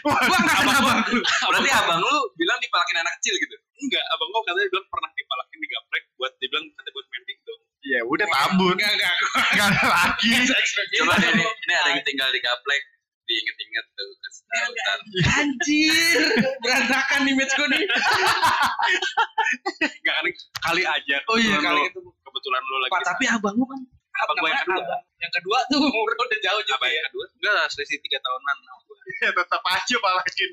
gua nggak kenal Iya, bang berarti abang lu bilang dipalakin anak kecil gitu enggak abang gua katanya bilang pernah dipalakin di gaplek buat dibilang katanya buat main dong Ya udah tambun. enggak enggak Gak ada lagi. Iya, coba deh, ini ini ada yang tinggal di gaplek diinget-inget tuh kasih tahu ntar. anjir berantakan image gue nih enggak kan kali aja oh iya kebetulan kali lu- itu kebetulan lu lagi pak tapi abang lu kan Abang gua yang namanya kedua. abang. yang kedua tuh umurnya udah jauh juga apa ya yang kedua enggak lah, selisih tiga tahunan sama gua Ya tetap aja malakin.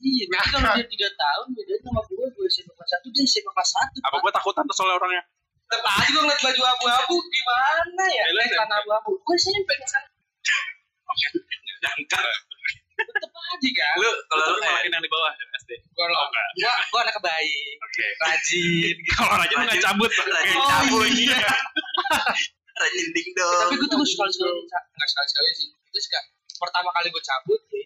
Iya, berarti kalau dia tiga tahun bedanya sama gue, gue SMP kelas satu, dia SMP kelas satu. apa gua takutan tuh soalnya orangnya Tetep aja gue ngeliat baju abu-abu, gimana ya? Ya, lu Eh, celana abu-abu. Gue SMP kelas satu, jangkar tetep aja kan. lu kalau kalau lu eh, malakin yang di bawah SD Gue lo, gue, gue anak baik, oke rajin. gitu. kalau raja lu nggak cabut Pak. Rajin Kayak Oh, cabut lagi iya. ya. rajin ding dong Eh, Tapi gue tuh gue sekali-sekali, nggak sekali-sekali sih. Terus kayak, pertama kali gue cabut, ya.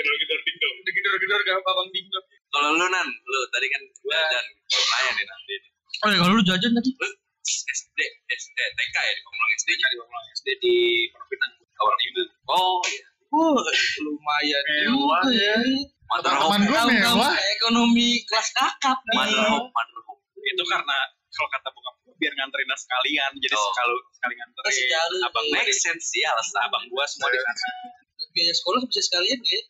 udah gedor-gedor gak abang bingung. kalau lu nan lu tadi kan Iya. jajan nanya nih nanti Oh ya, kalau lu jajan tadi? SD SD TK ya di Pamulang SD SD di Perpitan awal itu oh iya Gue Wah, lumayan Mewah, juga ya. Motherhope Teman gue Tahu-tahu mewah. ekonomi kelas kakap nih. Iya. Motherhope Motherhope itu karena kalau kata bokap gue biar nganterin sekalian jadi Oh. sekali sekali nganterin Kasih jalan. abang gue make sense ya alasan abang gua semua di sana Biaya sekolah bisa sekalian ya.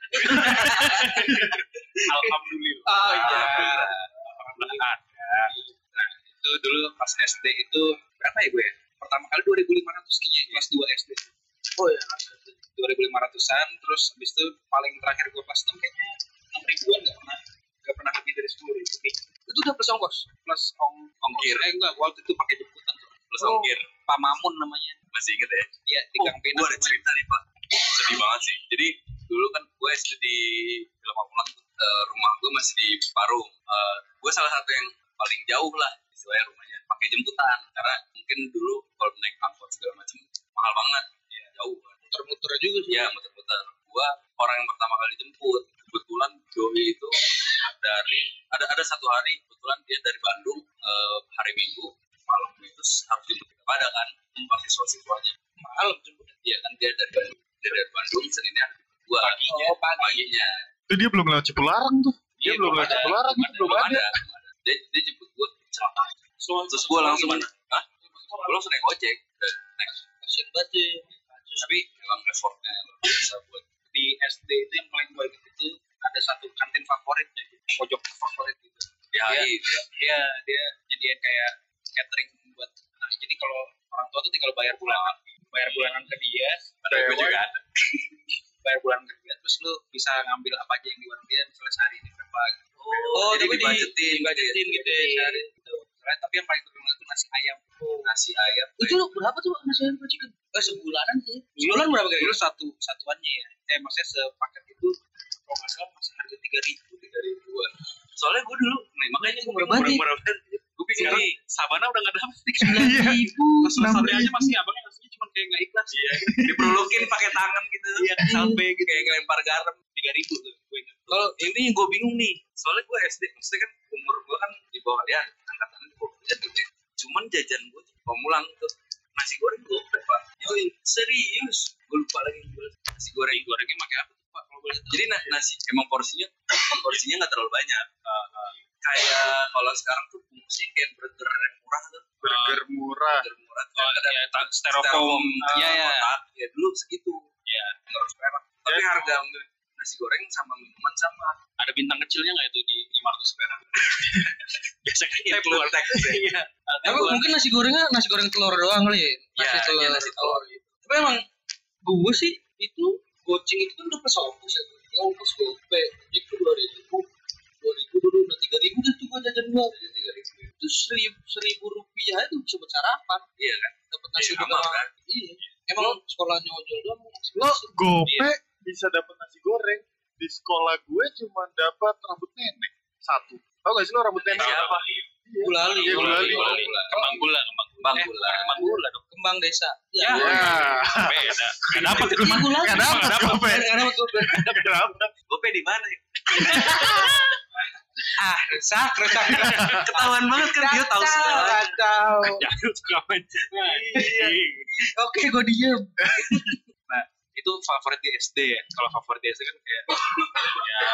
alhamdulillah Oh alhamdulillah ada Nah, itu dulu pas SD itu berapa ya gue ya? Pertama kali 2500 kayaknya kelas 2 SD. Oh iya. 2500-an terus habis itu paling terakhir gue kelas 6 kayaknya 6 ribuan gak pernah gak pernah lebih dari 10 ribu itu udah plus ongkos plus ong Ongkir. eh enggak waktu itu pakai jemputan tuh plus Oh. ongkir Pak Mamun namanya masih inget ya dia di Oh, Gang Pinang gue ada cerita nih pak sedih banget sih jadi dulu kan gue SD di Lemah Pulang eh, rumah gue masih di Parung Eh, gue salah satu yang paling jauh lah istilahnya rumahnya pakai jemputan karena mungkin dulu kalau naik angkot segala macam mahal banget ya jauh kan Muter-muter juga sih. ya muter-muter gue orang yang pertama kali jemput kebetulan Joey itu dari ada ada satu hari kebetulan dia dari Bandung eh, hari Minggu malam itu harus jemput ke pada kan pakai siswa-siswanya Malam jemputnya. Iya kan dia dari Bandung. Dia dari Bandung Seninnya gua paginya. Oh, pagi. paginya. Itu dia belum lewat Cipularang tuh. Dia belum lewat Cipularang, belum ada. belum belum ada. ada. Dia, dia jemput gua celaka. Terus gua langsung Hah? Gua langsung naik ojek. Dan naik Kasian banget ya. tapi emang effortnya luar biasa buat di SD itu yang paling gue inget itu ada satu kantin favorit jadi pojok favorit gitu di HI. dia dia jadian kayak catering buat nah, jadi kalau orang tua tuh tinggal bayar bulanan bayar bulanan ke dia Padahal gua juga ada. bayar bulanan ke dia terus lu bisa ngambil apa aja yang di warung dia misalnya sehari ini berapa gitu. Oh, jadi dibajetin, dibajetin gitu ya sehari gitu. Soalnya, tapi yang paling terkenal itu nasi ayam Oh. nasi ayam Itu berapa tuh Pak, nasi ayam per chicken? Eh sebulanan sih. Iya. sebulan berapa kali lu satu satuannya ya eh maksudnya sepaket itu kalau nggak salah masih harga tiga ribu tiga ribuan Soalnya gua dulu, nah, makanya gua Murah banget nih. murah murah Gua pikir Sekarang nih, Sabana udah gak dapet nih kan? Iya. pas Enam sampai aja ribu. masih abangnya ngasihnya cuma kayak gak ikhlas iya diperlukin pakai tangan gitu. iya kayak salpe gitu kayak ngelempar garam tiga ribu tuh gue ingat kalau ini yang gue bingung nih soalnya gue SD maksudnya kan umur gue kan di bawah kalian angkatan gue kalian gitu ya. cuman jajan gue tuh pemulang tuh nasi goreng gue pak Yoi, serius gue lupa lagi gue nasi goreng gorengnya pakai apa tuh pak kalau boleh tahu. jadi na- nasi emang porsinya porsinya nggak terlalu banyak Uh, uh, kayak kalau sekarang tuh bungkusnya kayak burger yang murah Oh, iya. tuh Burger murah. burger murah tuh ada Iya, styrofoam. eh, Iya, iya. kotak. ya dulu segitu ya harus perak tapi harga nasi goreng sama minuman sama ada bintang kecilnya gak itu di 500 perak biasa kan Teh keluar teh iya Tapi mungkin nasi gorengnya nasi goreng telur doang kali ya. ya iya, nasi telur gitu Tapi emang gue sih itu goceng itu kan udah pas ongkos ya. Gua Ongkos gope itu dua ribu, dua ribu dulu udah tiga ribu kan tuh gue jajan gue tiga ribu. Itu seribu seribu rupiah itu bisa buat sarapan, iya kan dapat nasi Iya, goreng. aman, kan? Iya. Emang sekolahnya ojol doang mau ngasih Lo nasi. gope bisa dapat nasi goreng. Di sekolah gue cuma dapat rambut nenek satu. Tau gak sih lo rambut nenek? Iya. Siapa? gulali, Iya, gulali. Gulali. kembang gula kembang bang Eh, gula kembang gula dong kembang desa. Iya. Ya. Ya. Iya. beda Gak dapat gue. Iya, gulali. Gak dapat gope. Karena waktu Gak dapat. gope di mana ya ah rusak rusak ketahuan banget kan dia tahu semua kacau. jangan suka main Iya, Oke, gue diem. itu favorit di SD ya kalau favorit di SD kan kayak ya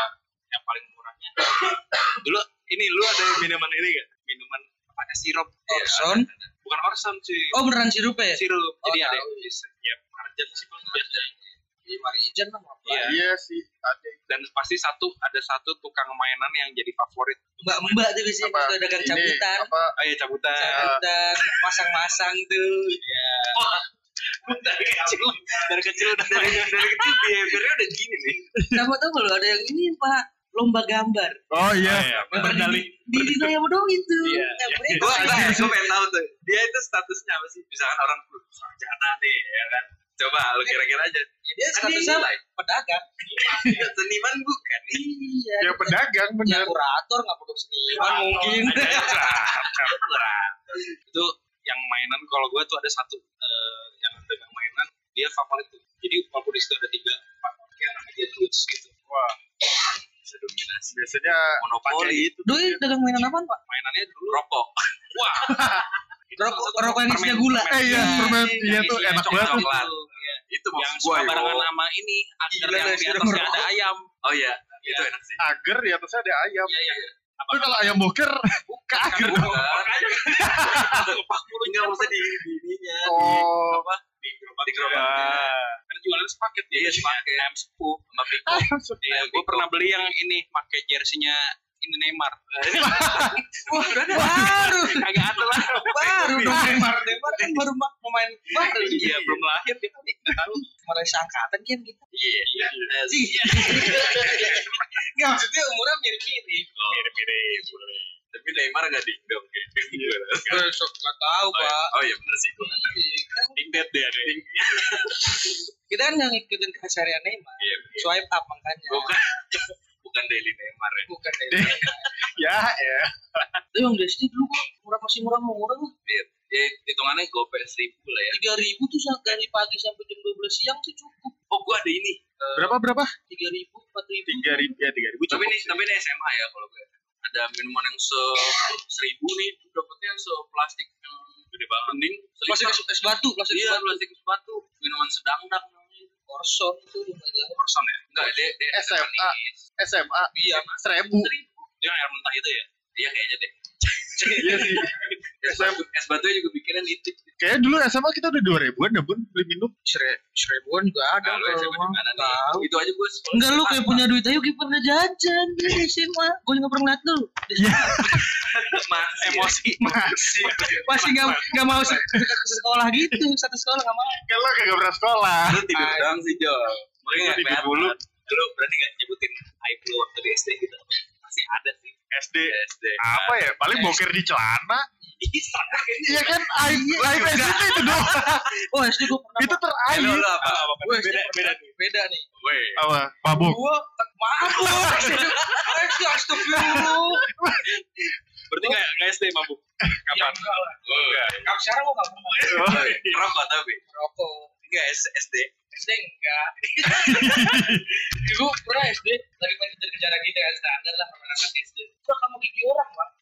yang paling murahnya dulu ini lu ada minuman ini gak minuman pakai sirup Oh, Iya, Iya. kan? Orson. bukan Orson sih Oh beneran sirup iya. ya? sirup Oh, jadi ada tahu. ya marjan sih paling biasa. Iya, Marijan lah. ngapain. Iya. Iya sih. Ada dan pasti satu ada satu tukang mainan yang jadi favorit Mbak-mbak tuh biasanya apa? kalau dagang ini, cabutan. Apa? oh ya cabutan Iya. Cabutan, pasang-pasang tuh. Oh. dari kecil dari kecil udah dari, dari kecil behaviornya udah gini nih Sama tuh kalau ada yang ini, Pak. Lomba gambar. Oh iya. berdali Di Dino yang doang itu. Iya, Gambarnya gue gambar. gue gue pengen tahu tuh Eh, dia itu statusnya apa sih misalkan orang sarjana nih ya kan coba lu kira-kira aja Dia kan dia statusnya pedagang. seniman bukan nih Iya. Ya pedagang Ya bener. kurator nggak perlu seniman Iya. mungkin. itu yang mainan kalau gue tuh ada satu eh, yang dagang mainan dia favorit tuh jadi walaupun di situ ada tiga empat kayak namanya dia terus gitu Wah. bisa dominasi Biasanya monopoli itu Doi dagang mainan apa, Pak? mainannya dulu rokok Rokok rokok yang isinya gula. eh iya Nah, permen iya yang tuh isinya iya, enak banget. tuh. Iya. coklat. itu yang maksud suka gua, barengan yo. sama ini agar Gila, yang nasi di goreng atasnya ada merokok. ayam oh iya itu enak sih agar di atasnya ada ayam. iya iya iya. Tapi kalau ayam boker buka agar. bukan lepak mulu nggak usah di di ininya Oh, apa di gerobak di gerobak Kan jualan sepaket ya. iya Ah. pakai ayam sepuh sama biko ayam sup. Iya, gue pernah beli yang ini pakai jersinya ini Neymar. wah Baru, Kagak ada lah. baru dong. Neymar. Neymar kan baru ma- pemain baru. Iya, belum lahir dia kali. Nggak tahu. Mulai seangkatan kan kita. Iya. Enggak maksudnya umurnya mirip-mirip. mirip-mirip boleh. tapi Neymar nggak dingdong kayak Gue sok nggak tahu pak. oh iya bener sih gua nggak tahu. dingdet deh ada yang- Kita kan nggak ngikutin keseharian Neymar. iya iya. Swipe up makanya. bukan bukan daily Neymar ya Bukan Deh. Neymar. Ya, ya. Tapi yang Desti dulu kok murah masih murah mau murah lah. ya hitungannya gope seribu lah ya Tiga ribu tuh sa- dari pagi sampai jam 12 siang tuh cukup. oh gua ada ini Berapa berapa? Tiga ribu, empat ribu. Tiga ribu ya tiga ribu. tapi cukup ini sih. tapi ini SMA ya kalau gue ada minuman yang se seribu nih tuh dapetnya seplastik yang gede banget mending Plastik seliter. es, es batu, plastik es iya batu. plastik sepatu minuman sedang dak Korson itu lumayan. person ya enggak dia dia SMA. manis. SMA iya seribu. seribu dia air mentah itu ya iya kayaknya deh Iya sih. es batu es batunya juga bikinan itu Kayaknya dulu SMA kita udah dua ribuan dah bun beli minum. Sere, seribuan juga ada. nah, lu kalau SMA mau. di mana nih Tahu. itu aja gue sekolah Enggak lu SMA. kayak punya duit ayo kayak pernah jajan di SMA. Gue juga pernah ngeliat lu. Masih ya. Emosi masih. Masih enggak enggak mau se- ke ke sekolah gitu, satu sekolah enggak mau. Kan lo kagak pernah sekolah. lu tidur Gitu doang sih Jo makanya Lu nggak tidur kelihatan. mulu. lu berani nggak nyebutin aib lu waktu di SD gitu masih ada sih SD. SD Apa ya? Eh. Paling boker di celana. Ih, serem kayaknya. Iya kan? Aib aib SD tuh itu doang. Oh, SD gue pernah. Itu Eh, lu teraib. lu apa Gua SD beda pernah- Beda nih. Weh. Apa? Mabuk. Gua mabuk. SD astagfirullah. Berarti nggak nggak SD mabuk. Kapan? Oh, enggak. Kamu sekarang gua enggak pernah Kerap nggak tapi merokok. enggak S- SD SD enggak. Gue pernah SD lagi main kejar-kejaran gitu kan standar lah anak SD. Kok kamu gigi orang, Bang?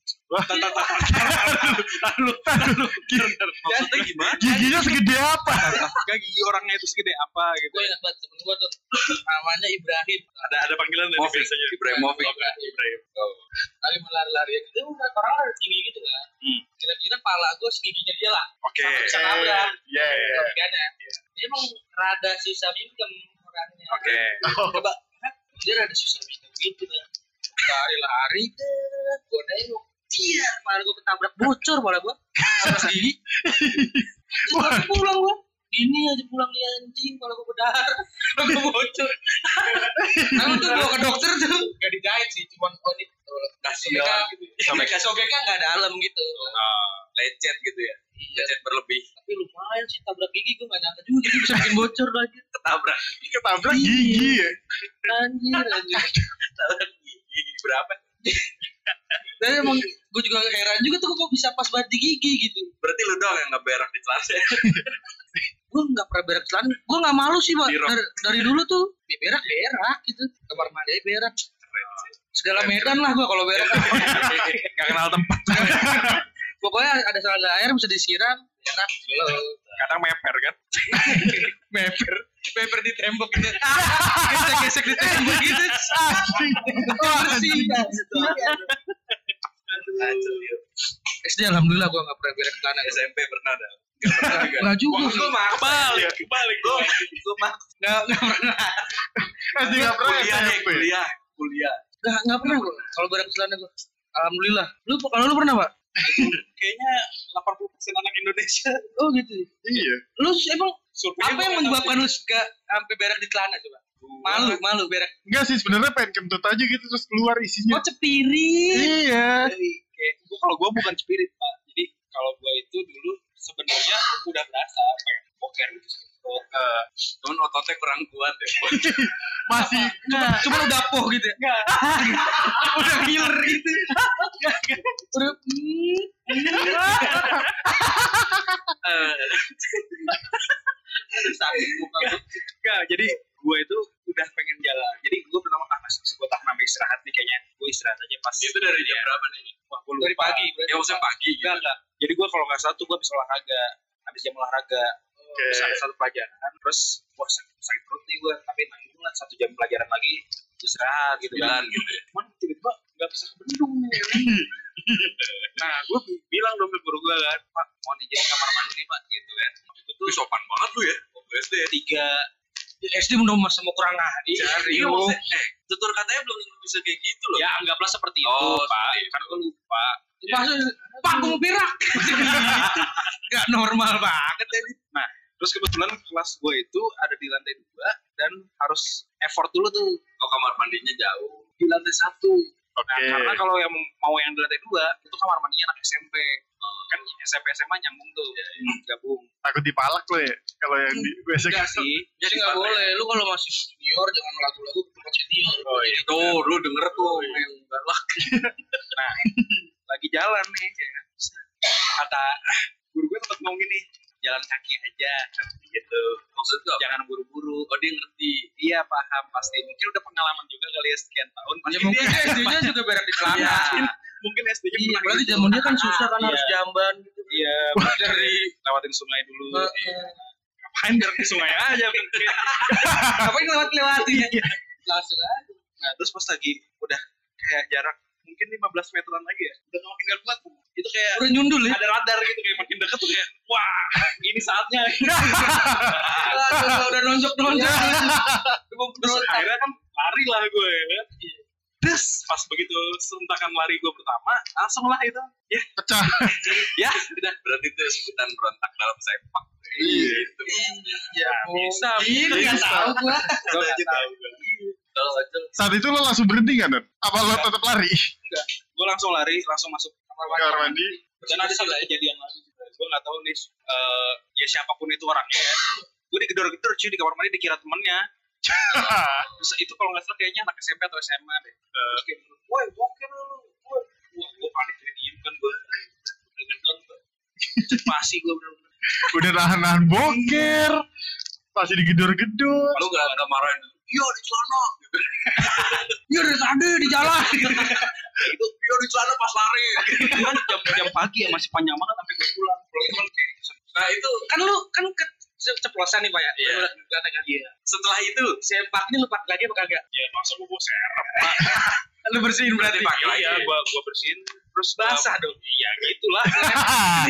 Aduh, aduh. maksudnya gimana Giginya segede apa? Gak gigi orangnya itu segede apa gitu. Gue ingat banget temen gue tuh namanya Ibrahim. Ada ada panggilan dari Moving biasanya. Ibrahimovic Ibrahim. Oh. Tapi lari-lari itu kan orang kan tinggi gitu kan. Hmm. Kira-kira pala gue segiginya dia lah. Oke. Sampai bisa nabrak. Iya, iya. Logikanya. Dia emang rada susah minjem orangnya. Oke. Oh, Coba kan, dia rada susah minjem gitu kan. Lari-lari deh. Gue nengok. Iya, malah gue ketabrak bocor malah gue. Atas gigi. Terus langsung pulang gue. Ini aja pulang nih anjing kalau gue berdarah. Gue bocor. Kalau tuh gue ke dokter tuh gak dijahit sih, cuman oh ini kasih sobeknya doang gitu. Sobek sobeknya nggak dalam gitu. Oh. Ah, lecet gitu ya lecet berlebih Tapi lumayan sih tabrak gigi gue gak nyangka juga jadi bisa bikin bocor lagi. ketabrak ketabrak gigi ya. Anjir anjir. ketabrak gigi berapa Dan emang gue juga heran juga tuh kok bisa pas banget di gigi gitu. berarti lu doang yang nggak berak di celana Gue nggak pernah berak celana. Gue nggak malu sih pak. Di rok. Dari, dari dulu tuh ya berak berak gitu. Kamar mandi aja berak. Segala medan lah gue kalau berak. Gak kenal tempat. Pokoknya ada salah air bisa disiram. ya kan? Berak. Lo. Kadang meper kan. Paper, paper di tembok gitu. Gesek-gesek di tembok gitu. Bersih. SD alhamdulillah gua enggak pernah berak tanah. SMP pernah ada nggak pernah juga Enggak juga. Gua mah kebalik kebalik gue gue mah Enggak enggak pernah. SD nggak pernah ya, kuliah deh Eh, SMP. kuliah kuliah Enggak enggak pernah gua. Kalau berak celana gua. Alhamdulillah. Lu kalau lu pernah, Pak? Kayaknya 80% anak Indonesia. Oh gitu. Iya. Lu emang Survei apa yang menyebabkan lu suka sampai berak di celana coba? Malu, malu berak. Enggak sih sebenarnya pengen kentut aja gitu terus keluar Oh isinya. cepirit. Iya. Jadi kayak gua kalau gua bukan spirit pak. Jadi kalau gua itu dulu sebenarnya udah berasa pengen boker gitu. Boker. cuman Eh, ototnya kurang kuat ya Masih Nah, cuma udah poh gitu ya. Iya, Enggak. udah killer gitu. Udah hmm, Eh, sakit muka gua. Enggak, jadi gue itu udah pengen jalan. Jadi gue pertama ah masih gue tak namanya istirahat nih kayaknya. Gue istirahat aja pas itu dari jam berapa nih wah gue lupa. dari pagi. ya maksudnya pagi gitu Enggak enggak. Jadi gue kalau nggak salah tuh gue habis olahraga, habis jam olahraga. Oke. terus ada satu pelajaran terus wah sakit, sakit perut nih gue tapi nanggung lah satu jam pelajaran lagi istirahat gitu kan Sembilan gitu ya. cuman tiba-tiba nggak bisa ke bendung nah gue bilang dong ke guru gue kan pak mohon izin ke kamar mandi pak gitu kan itu tuh Lu sopan banget lu ya. Waktu SD ya. tiga Ya, hmm. SD udah masih mau kurang aja Iya, maksudnya, eh, tutur katanya belum tentu bisa kayak gitu loh. ya anggaplah seperti itu Oh, pak seperti itu. kan gue lupa Iya. pak gue mau berak nggak normal banget ya nah Terus kebetulan kelas gue itu ada di lantai dua dan harus effort dulu tuh Oh, kamar mandinya jauh. di lantai satu. Nah, Oke. karena kalau yang mau yang di lantai dua itu kamar mandinya anak SMP. Oh. Kan SMP SMA nyambung tuh, Iya, gabung. Takut dipalak lo ya kalau yang di gue sih. Enggak sih, Jadi nggak boleh. Lu kalau masih senior jangan lagu-lagu ke tempat senior. Oh, iya. Tuh, lu denger tuh yang galak. Nah, lagi jalan nih. ya kan. Kata "Ah, guru gue tempat ngomong gini, jalan kaki aja gitu. Maksud gua apa? Jangan buru-buru. Oh dia ngerti. Iya paham pasti. Mungkin udah pengalaman juga kali ya sekian tahun. Pasti Ya mungkin dia- SD-nya juga berak di celana. Iya. Mungkin SD-nya Iya, pernah apalagi gitu. zaman dia kan susah kan Iya. harus jamban gitu. Iya, dari lewatin sungai dulu. Heeh. Ngapain biar ke sungai aja mungkin. Ngapain lewat-lewatin? ya? Langsung aja. Nah, terus pas lagi udah kayak jarak mungkin 15 meteran lagi ya. Udah makin gak kuat. Itu kayak Udah nyundul ya. ada radar gitu kayak makin deket tuh kayak wah ini saatnya Aduh, udah nonjok-nonjok. terus akhirnya kan lari lah gue ya kan Iya. terus pas begitu sentakan lari gue pertama langsung lah itu ya Pecah. ya Udah, berarti itu sebutan berontak dalam sepak. Iya. Gitu. Ya, bisa. Bisa. Bisa. Nggak tahu gua. gue iya, nggak tahu Kalau aja Saat itu lo langsung berhenti kan? Dan? Apa lo tetap lari? gue langsung lari langsung masuk kamar mandi. Kamar mandi. dan ada satu kejadian lagi gue nggak tahu nih eh, ya siapapun itu orangnya ya gue digedor-gedor cuy di kamar mandi dikira temennya terus itu kalau nggak salah kayaknya anak SMP atau SMA deh Eh, terus kayak woi boker lu woi Wah, gue panik jadi diem kan gue gedor gue masih gue bener-bener Udah nahan-nahan boker. Masih digedor-gedor. lu gak ada marahin. Iya, di celana. Iya, dari tadi di jalan. Itu iya di celana pas lari. kan jam, jam pagi ya masih panjang banget sampai gue pulang Iya, pulang pulang kayak Nah, itu Kan lu kan ke ceplosan nih, Pak ya. Iya. Iya. setelah itu Sepaknya lu pakai lagi apa kagak? ya masa gue bawa serep Lu bersihin berarti. dipakai lagi. iya gue gue bersihin terus Basah dong. iya gitulah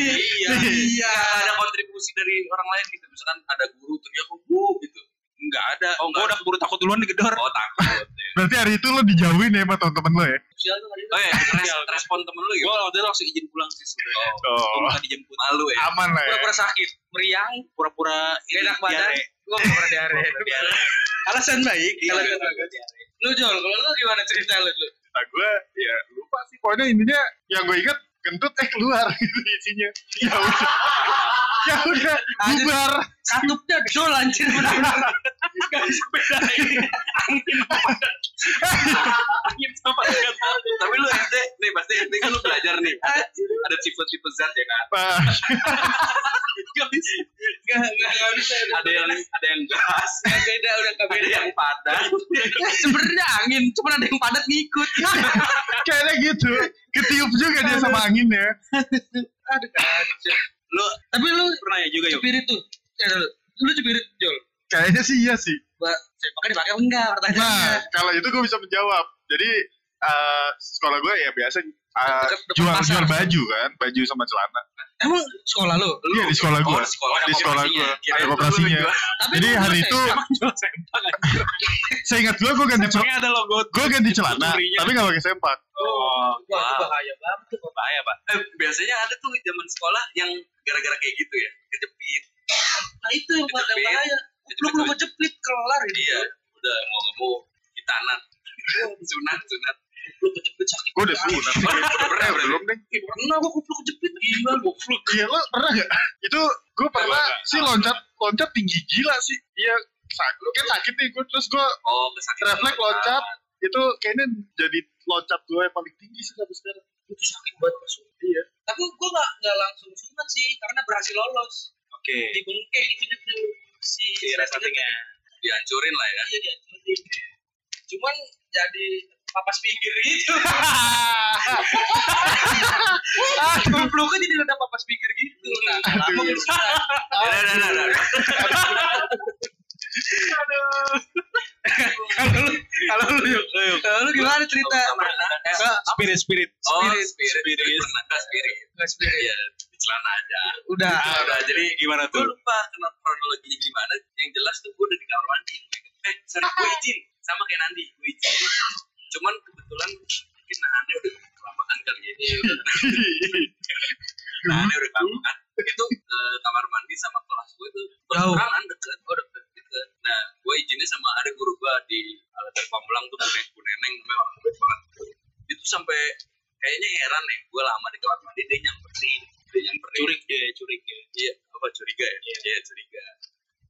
Iya. Iya. Gak ada kontribusi dari orang lain gitu. Misalkan ada guru teriak bu gitu. nggak ada oh, Oh, nggak gue udah keburu takut duluan digedor Oh, takut. ya. Berarti hari itu lo dijauhin ya sama teman-teman lo ya? Sial tuh tadi. Oh ya, res- respon temen lu gue gimana? waktu itu langsung izin pulang sih sebenarnya Oh, minta dijemput Malu ya. aman lah ya. Pura-pura sakit, meriang, Ah, pura-pura Gak enak badan. diare. gua pura-pura diare. alasan baik Iya. Kalau alasan lu- lu Jol, kalau lu gimana cerita lu lu? Nah, gue ya lupa sih. Pokoknya intinya yang gue ingat kentut eh keluar gitu isinya. Ya udah. ya udah bubar. Katupnya Jol anjir benar. Tapi lu SD, nih pasti SD kan lu belajar nih. Ada, ada tipe-tipe zat ya kan. Nah, Gak bisa. Enggak enggak enggak bisa. Ada yang ada yang gas, Nggak beda udah enggak ada beda. yang padat. Sebenarnya angin, cuman ada yang padat ngikut. kayaknya gitu. Ketiup juga dia sama angin ya. Aduh kacau. Lu tapi lu pernah ya juga yuk cepirit tuh. Eh, lu lu cepirit Jol. Kayaknya sih iya sih. Ba- Makanya dipakai apa enggak pertanyaannya? Nah, kalau itu gue bisa menjawab. Jadi eh, sekolah gue ya biasa eh, Dekat- dekat jual pasar. jual baju kan, baju sama celana. Emang sekolah lu? Iya di sekolah gue. Oh, di sekolah, Di sekolah gue. Kirain Ada lu koperasinya. jual. Tapi Jadi lu hari lulus itu ya? saya ingat gue gue ganti celana, ada logo gue ganti celana, tapi nggak pakai sempak. oh Wah, itu Wah. bahaya banget tuh. bahaya pak Eh, biasanya ada tuh zaman sekolah yang gara-gara kayak gitu ya, kejepit. Nah, itu yang bahaya. Kejepit. bahaya. Lu belum kejepit kelar ini. Iya, udah mau nggak mau hitanan. sunat, sunat. Lu kejepit sakit. Gue udah sunat. Udah Eh, pernah berarti. belum deh. Ih, Pernah gua kupluk kejepit gila goblok. Iya lo pernah gak? Itu gue pernah sih loncat loncat tinggi gila sih. Iya sakit. Kayak sakit nih gue terus gue Oh, kesakitan. refleks loncat itu kayaknya jadi loncat gue yang paling tinggi sih sampai sekarang. Itu sakit banget pas sunat. Iya. Tapi gua nggak nggak langsung sunat sih karena berhasil lolos. oke Di bengkek itu dulu Iya, si si resletingnya Dihancurin lah ya. Iya dihancurin. Cuman jadi papas pinggir gitu. Ah, Peluknya jadi ada papas pinggir gitu. Nah, lama kerusuhan. Nah, nah, nah, nah. Kalau lu, kalau lu, yuk, yuk. Eh, Lu gimana cerita? Pernah nggak? spirit spirit. Oh, Nah, Spirit. spirit, spirit, pernah nggak spirit? Iya, di celana aja. Udah. Ah, udah, jadi gimana Gue tuh? lupa kenapa kronologinya gimana. Yang jelas tuh gue udah di kamar mandi. Eh, sorry, gue izin. Sama kayak Nandi, gue izin. Cuman kebetulan mungkin nahannya udah kelamaan kali ya. Nahannya udah kelamaan. Itu eh, kamar mandi sama kelas gue tuh berseberangan deket. Oh, deket, deket. Nah, gue izinnya sama ada guru gue di Alatan Pamulang tuh Bu Nen- Bu Neneng namanya orang baik banget. Itu sampai kayaknya heran ya, gue lama di kamar mandi dia nyamperin. Dia nyamperin. ya, curiga. Iya, apa curiga ya? Iya, curiga.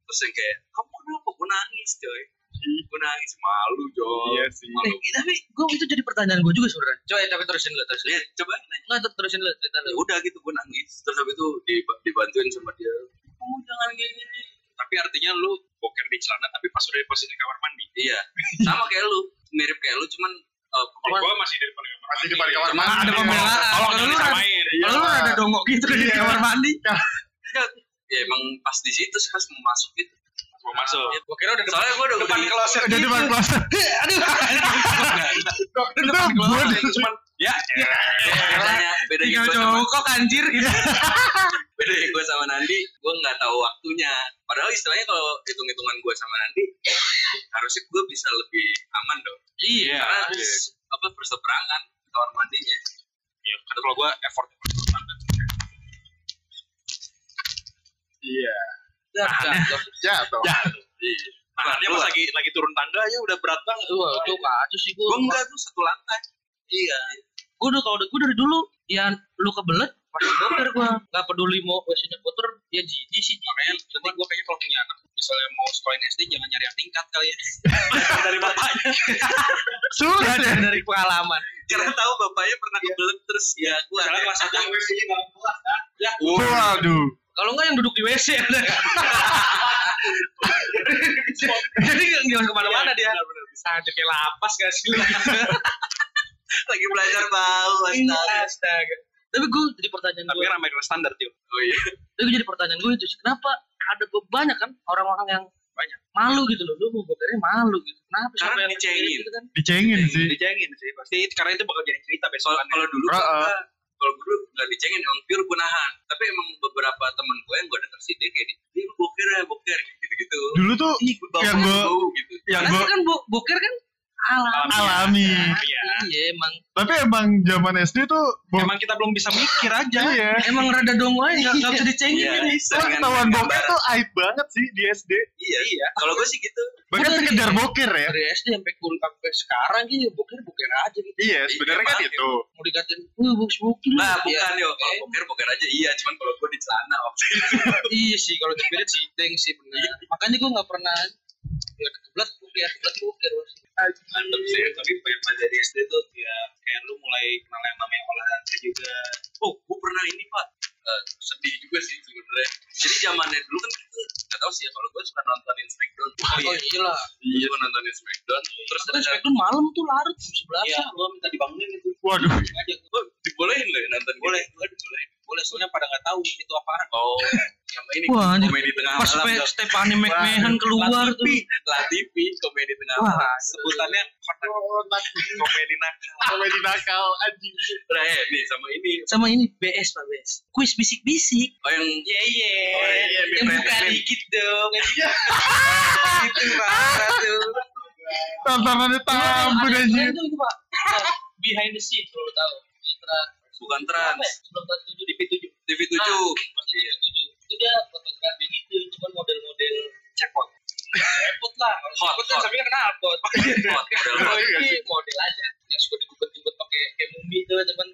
Terus yang kayak, kamu kenapa? Gue nangis, coy. Gue nangis, malu, coy. Iya sih. Malu. Eh, tapi gue itu jadi pertanyaan gue juga sebenarnya. Coba, tapi terusin dulu, terusin. Iya, coba nanya. Nggak, terusin dulu cerita Ya udah gitu, gue nangis. Terus habis itu dib- dibantuin sama dia. Kamu jangan kayak gini. Tapi artinya lu boker di celana tapi pas udah di posisi kamar mandi. Iya, sama kayak lu. Mirip kayak lu, cuman... eh, Kalau kalau- gua masih di depan kamar Masih di mandi. balik kamar Cuman mandi. ada pembelaan. Ah, Tolong Kalau jangan lu ada- disamain. Iya, Kalau lu Pak. ada dongok gitu di Iya. kamar mandi. ya emang pas di situ sih, pas mau masuk gitu. Mau masuk. Iya, Gua kira udah Soalnya gue udah... depan udah- kloset. Udah depan kloset. Udah buat Cuman ya, ya. Bedanya, Iya, bedanya Tinggal gue sama jongkok anjir gitu. beda ya gue sama Nandi gue nggak tahu waktunya padahal istilahnya kalau hitung hitungan gue sama Nandi harusnya gue bisa lebih aman dong Iya. karena s- apa perseberangan kamar mandinya Ya, kan kalau gua effort Iya. Nah, Jatuh. Tangannya Nah, pas lagi lagi turun tangga aja udah berat banget. Wah, itu kacau sih gue. gue enggak tuh satu lantai iya Gue udah kalau gue dari dulu ya lu kebelet pasti boker gue. Nggak peduli mau wc-nya kotor ya jijik sih. Makanya nanti gue pengen kalau punya anak misalnya mau sekolahin SD jangan nyari yang tingkat kali ya. Dari bapaknya. Sulit ya. Dari pengalaman. karena tahu bapaknya pernah Iya. kebelet terus ya gue Misalnya kelas satu Waduh. Kalau enggak yang duduk di ya. WC ada. Jadi nggak nggak kemana-mana Iya, dia. Ada kayak lapas gak sih lu? lagi belajar bau Iya. astaga. Astaga. Tapi gue jadi pertanyaan Tapi gue. kan American standar tuh. oh iya Tapi jadi pertanyaan gue itu sih kenapa ada be- banyak kan orang-orang yang Banyak. malu gitu loh. Lu mau bokernya malu gitu. Kenapa sih Karena orang yang dicengin. gitu kan? Dicengin sih. Dicengin sih pasti karena itu bakal jadi cerita besok. kalau kalau dulu Ra- gua eh, nggak- kalau dulu nggak dicengin emang pure gue nahan tapi emang beberapa temen gue yang gue denger sih dia kayak dia lu boker ya boker gitu gitu Dulu tuh bau yang gue bau gitu yang Karena gue kan bo- boker kan alami. alami. Iya emang Tapi emang zaman SD tuh boker Emang kita belum bisa mikir aja. ya. emang rada dongo aja nggak nggak bisa dicengin. Iya, gitu. Wah, dengan ketahuan boker gambaran. tuh aib banget sih di SD. Iya, iya. Kalau gue sih gitu. Bahkan Bener, sekedar iya. boker ya. Dari SD sampai kul sampai sekarang gitu boker boker aja gitu. Iya, sebenarnya kan Iya, itu. Mau dikatain, wih boks boker. Nah, Iya. bukan yo. Kalau boker boker aja iya, cuman kalau gue di celana waktu itu. iya sih kalau spirit sih deng sih benar makanya gue nggak pernah ya kebelet gue ya kebelet gue kira Mantep sih, tapi pengen belajar di SD tuh ya kayak lu mulai kenal yang namanya olahraga juga. Oh, gue pernah ini pak. Eh, sedih juga sih sebenarnya. Jadi zamannya dulu kan itu nggak tahu sih ya. Kalau gue suka nontonin Smackdown. oh iya lah Iya, gue nontonin Smackdown. Terus Iya. terus ada cara itu malam tuh larut jam sebelasan gua minta dibangunin itu. Waduh, Ngajak gue dibolehin loh ya nonton. boleh, boleh, boleh. Boleh soalnya pada nggak tahu itu apaan. Oh, sama ini Wah, anjir. komedi tengah Iya. pas malam. Pe- dong. Stephanie McMahon keluar Latifi, tuh Latifi, komedi tengah Wah, malam. Sebutannya kotak komedi nakal. komedi nakal anjing. Nah, eh, nih sama ini. sama ini BS pak BS kuis bisik-bisik Oh yang Iya, iya. Oh, iya, Yang Batman, buka Batman. dikit dong. itu parah tuh Tantangannya Iya, tampun anjing. itu itu, pak behind the scene kalau lo tahu Citra bukan trans. sebelum tahun tujuh di P7 TV7. masih di P7 itu dia fotografi gitu cuman model-model jackpot repot lah kalau Hot, jackpot kan hot. sampai kena albot Ah. Hot, model hot. tapi model aja yang suka digubat-gubat pakai kayak mumi tuh teman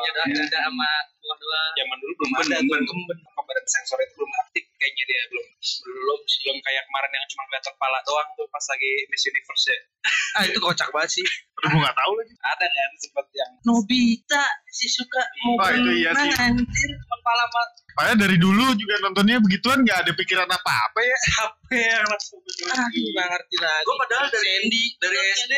ya ada ada sama buah dua Zaman dulu belum Kemben, ada tuh. kemben. Kemben. Pemberan sensor itu belum aktif kayaknya dia belum. belum sih Belum kayak kemarin yang cuma kelihatan kepala doang tuh pas lagi Miss Universe ya. ah itu kocak banget sih Aduh, gue gak tau lagi. Ada kan sempat yang Nobita si suka mau Oh, itu iya berenang, sih. anjir kepala mah Padahal dari dulu juga nontonnya begituan gak ada pikiran apa-apa ya. HP yang langsung aduh nggak ngerti lagi Gue padahal dari Sandy dari SD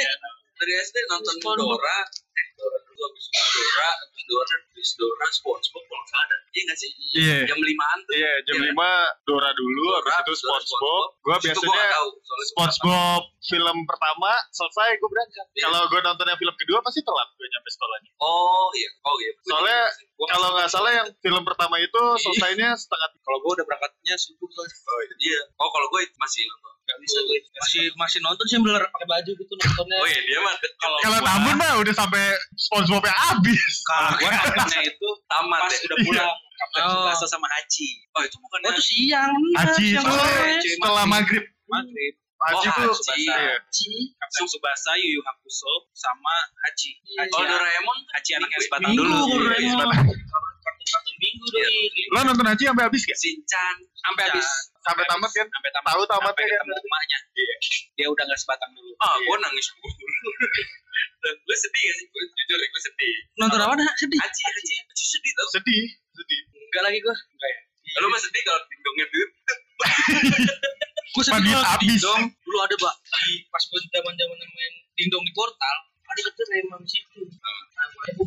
dari SD nonton Dora, eh Dora dulu habis itu Dora, habis Dora, habis Dora SpongeBob kalau nggak ada. Iya nggak sih? Iya. Jam limaan tuh. Iya, jam Iya. 5 Dora dulu, Dora, habis itu Dora, SpongeBob. Gua Habis itu gua nggak biasanya tahu, soalnya gua SpongeBob film pertama selesai gue berangkat. Iya. Kalau gue nonton yang film kedua pasti telat gue nyampe sekolahnya. nggak tahu. Oh iya, oh iya. Gua Soalnya juga sih. Gua Kalau nggak salah yang film pertama itu Iya. selesainya setengah kalau gue udah berangkatnya subuh soalnya. Oh iya. Oh kalau gue masih nonton. Nggak bisa gue. iya. masih masih nonton sih bener pakai baju gitu nontonnya Oh iya dia mah de- kalau Kalau gua Tambun mah udah sampai SpongeBob yang habis. kalau Ah, gua nontonnya itu taman pas deh. udah pulang iya. Kapten Oh. Tsubasa sama Hachi Oh itu bukan oh itu siang bener, Aji siang sore sore. cuy, setelah mati. maghrib. Maghrib Aji Oh, tuh Aji. iya. Ci. Kapten Tsubasa Yu Yu Hakusho sama Hachi Hachi, Kalau Doraemon iya. Hachi anaknya Minggu- sebatang minggu dulu Iya, Doraemon. iya, satu minggu dari Lo nonton Aji sampai habis gak? Shinchan sampai habis Sampai tamat kan? sampai tamat Tahu tamatnya sampai kan? ketemu emaknya Iya. dia udah nggak sebatang dulu Ah, gue nangis mulu. Dan gue sedih gak sih? Gue jujur ya, gue sedih. nonton apa dah sedih Aci, aci, aci sedih tau. Sedih, sedih. enggak lagi gue Lu mah sedih kalau dindongnya duit. gue sedih Maghrib banget. habis. dong dulu ada pak di pas gue zaman zaman main dingdong di portal ada kata Raymond situ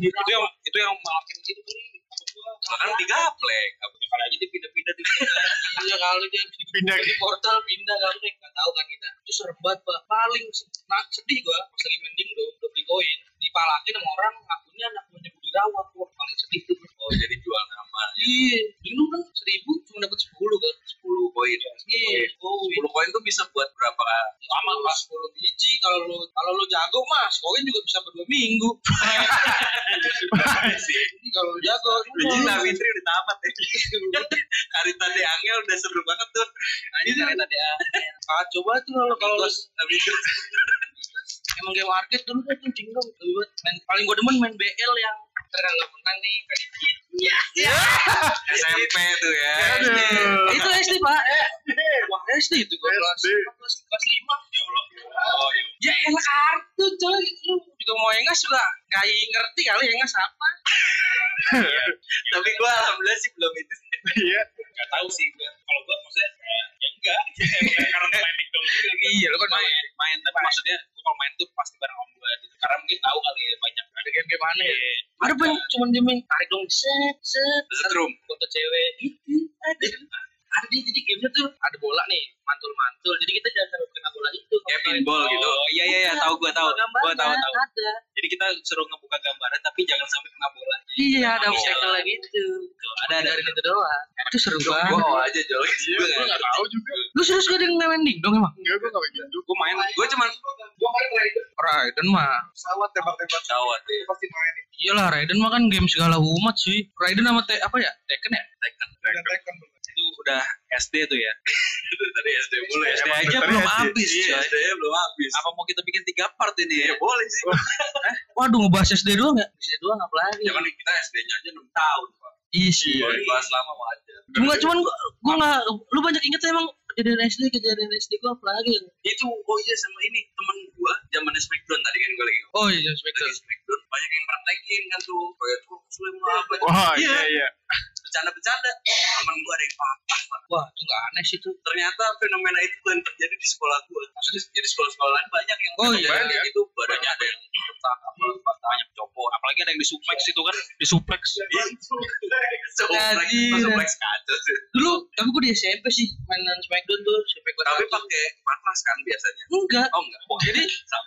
itu yang itu yang malakin gitu kali Bahkan tiga plek. Ya, kali aja dia pindah-pindah di Iya kali dia di- Pindah. di portal pindah kali deh nggak tahu kan kita. Itu serem banget pak. Paling se- nah, sedih gua pas lagi mending dong udah beli koin dipalakin sama orang ngakunya anak punya budirawat gua paling sedih tuh. Oh, jadi jual nama. Iya, dulu kan seribu cuma dapat sepuluh kan, sepuluh Koin. Iya, koin. 10 koin tuh bisa buat berapa? Lama pas sepuluh biji kalau lu kalau lu jago mas, koin juga bisa berdua minggu. Ini kalau lu jago. Biji Mbak Fitri udah tamat ya. Karita De Angel udah seru banget tuh. Anjir, Karita De Angel. Ah, coba tuh kalau kalau lu- Habis itu. emang game arcade dulu kan tuh dingdong tuh main paling gue demen main BL yang terlalu menang nih kayak gitu. SMP tuh ya. Aduh. itu Iya. SD pak eh wah SD itu gue kelas SD. kelas kelas lima ya Allah Oh, iya. ya enak kartu coy lu juga mau engas juga gak ngerti kali engas apa Tapi gue alhamdulillah sih belum itu. Iya. nggak tahu sih gua. kalau gua maksudnya eh, ya enggak karena main dikdong juga gitu. iya lu kan main main main tapi maksudnya gua kalau main tuh pasti bareng om gua gitu. karena mungkin tahu kali ya banyak Iya. ada game-game aneh ada pun cuman dia main tarik dong set set Setrum. foto cewek gitu ada ada dia jadi gamenya tuh ada bola nih mantul-mantul jadi kita jangan terlalu kena bola itu Kayak pinball gitu. oh iya iya iya tahu gua tahu gua tahu tahu ada jadi kita suruh ngebuka gambaran tapi jangan sampai kena bola Iya, Iya. ada obstacle lagi itu. ada ada Dari itu doang. Itu seru Gue banget. oh aja jual. Iya, gue nggak tahu juga. Lu serius gak ada yang main dingdong emang? Enggak, gue nggak kayak gitu. gua main Gue cuman Raiden mah. pesawat tembak-tembak pesawat ya. Iyalah Raiden mah kan game segala umat sih. Raiden sama te apa ya? Tekken ya? itu udah SD tuh ya Itu tadi SD mulu ya. SD aja bentar belum ya, Ci. habis Iya, coy. SD -nya belum habis. Iya, apa mau kita bikin tiga part ini ya boleh sih. Waduh ngebahas SD doang ya? SD doang apalagi? Jangan kita SD-nya aja 6 tahun, Pak. Iya, Isi. Kalau dibahas lama wajar. Enggak cuman gua, gua gak, lu banyak inget emang kejadian SD kejadian SD gua apalagi yang Itu oh iya sama ini temen gua zaman Smackdown tadi kan gua lagi ngomong. Oh iya Lagi Spectre. Smackdown banyak yang praktekin kan tuh. Kayak tuh lu emang apa? Wah, Iya. iya, iya. Bercanda-bercanda. Temen gua ada yang patah. Pak. Wah itu gak aneh sih tuh. Ternyata fenomena itu bukan terjadi di sekolah gua. Maksudnya jadi sekolah-sekolah lain banyak yang Oh, yang iya. kayak gitu. Badannya ada yang patah, apa patah. banyak copot Oh, apalagi ada yang disupleks itu kan disupleks Jadi, Jadi- kacau sih. Dulu tapi gua di SMP sih mainan Smackdown tuh. Smackdown Tapi satu. pakai matras kan biasanya. enggak. Iya. Oh enggak. Jadi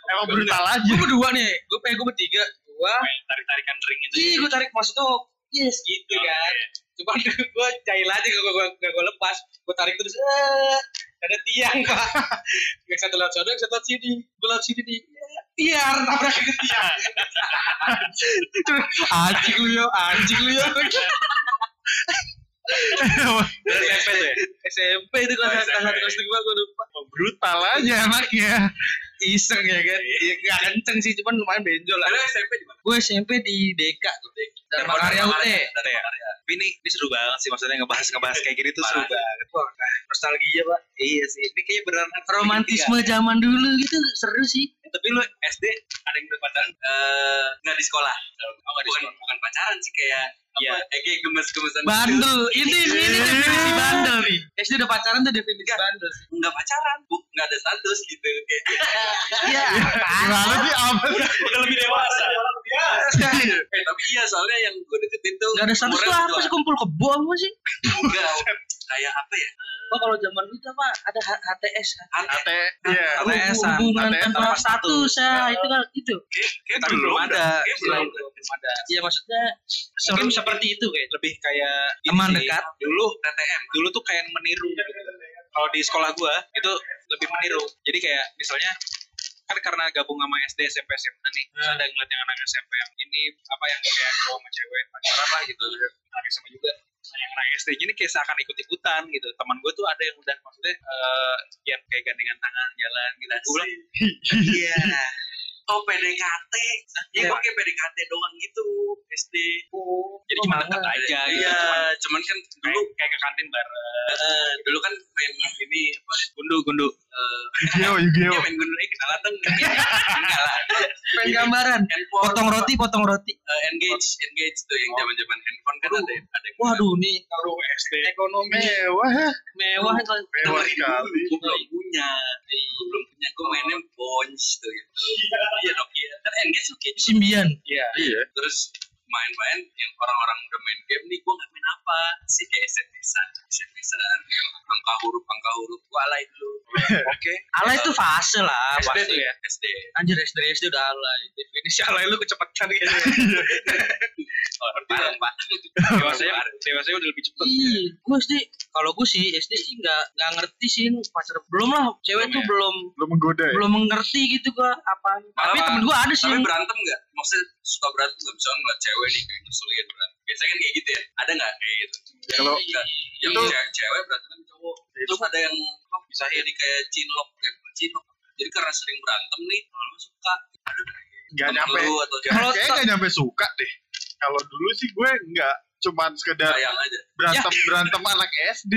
Emang brutal aja. gua berdua nih. Gua eh gua bertiga. Gua tarik-tarikan ring itu ya. Ih, gue tarik masuk tuh. Yes, gitu Oke. kan. Cuma gue jahil aja gak gue gak gue lepas. Gue tarik terus eh ada tiang pak. Yang satu lewat sana, yang satu lewat sini. Gue lewat sini Iya, nih. Tiar tabrak ke tiang. anjing lu yo, anjing lu yo. Dari SMP tuh ya SMP itu kelas kelas satu kelas dua gue lupa. Brutal aja anaknya. Iseng ya kan. Iya gak kenceng sih, cuman lumayan benjol lah. Lalu SMP di mana? Gue SMP di DK tuh. Dharma Karya UT. Dharma Karya. Tapi ya, ini, ini seru banget sih maksudnya ngebahas ngebahas kayak gini tuh seru Parah. banget. Wah, Nostalgia pak. Iya sih. Ini kayaknya beneran Romantisme zaman dulu gitu seru sih. Tapi lu SD ada yang udah pacaran? eh nggak di sekolah. bukan bukan pacaran sih kayak Iya. apa? Eh, kayak gemes-gemesan. gitu. bandel ini ini ini definisi bandel nih SD udah pacaran tuh definisi bandel Nggak pacaran, bu, nggak ada status gitu. Kayak iya ya. Gimana sih apa? udah lebih dewasa Iya. Eh tapi iya soalnya yang gue deketin tuh Gak ada status tuh umurnya apa sih kumpul kebo apa sih? Enggak Kayak apa ya Oh kalau zaman itu apa ada H- HTS Aneh AT, iya. ATS -an. hubungan ATS tanpa tanpa status ya itu kan itu. Kayak Tapi belum ada. Kayak Selain belum. itu, belum ada. Ya maksudnya Mungkin sebelum seperti itu kayak gitu. Lebih kayak Ini teman sih, dekat. Dulu TTM Dulu tuh kayak yang meniru. gitu. Kalau di sekolah gua itu lebih meniru. Jadi kayak misalnya kan karena gabung sama SD SMP SMA nih terus ada yang ngeliat yang anak SMP yang ini apa yang kayak cowok sama cewek pacaran lah gitu menarik sama juga Nah, yang anak SD ini kayak seakan ikut-ikutan gitu teman gue tuh ada yang udah maksudnya eh ya kayak gandengan tangan jalan gitu gue bilang iya Oh PDKT Iya. Ya gue kayak PDKT doang gitu SD Oh, jadi cuma deket Ada- aja gitu Iya Cuman Cuman kan dulu dulu kayak ke kantin bareng eh, Dulu kan main ini apa, gundu gundu eh, Yu-Gi-Oh, Yu-Gi-Oh. Iya main gundu Eh kenalan dong Enggak lah pengen gambaran. Handphone Potong roti, Oh. potong roti. eh, Engage Engage tuh yang zaman zaman handphone kan ada ada yang Waduh nih kalau SD ekonomi Mewah, ya. mewah mewah sekali. gue belum punya gue belum punya gue mainnya bonch tuh gitu iya Nokia kan Engage Nokia juga. simbian. iya Iya. terus main-main yang orang-orang udah main game nih gue nggak main apa si SMS-an SMS-an yang angka huruf angka huruf gue alay dulu oke Ala itu fase lah SD pasti. tuh ya SD Anjir SD SD udah alay. definisi alay lu kecepatan gitu Iya. orang bareng pak dewasanya dewasanya udah lebih cepet Iya, gue SD kalau gue sih SD sih nggak nggak ngerti sih pacar belum lah cewek Belum tuh ya? belum Lu menggoda ya? belum mengerti gitu gua apa tapi Malah- temen gue ada sih tapi yang- berantem nggak maksudnya suka berantem nggak misalnya ngeliat cewek nih kayak ngeselin berantem biasanya kan kayak gitu ya ada nggak kayak gitu Kalau- Nggak. yang Itu- Iya. cewek, cewek berantem sama cowok terus ada yang oh, bisa jadi kayak cinlok kayak cinlok jadi karena sering berantem nih kalau suka ada nggak? Gak Temen nyampe. lu atau dia Kalau- Kayaknya gak nyampe suka deh. Kalau dulu sih gue nggak cuman sekedar sayang aja berantem berantem anak SD.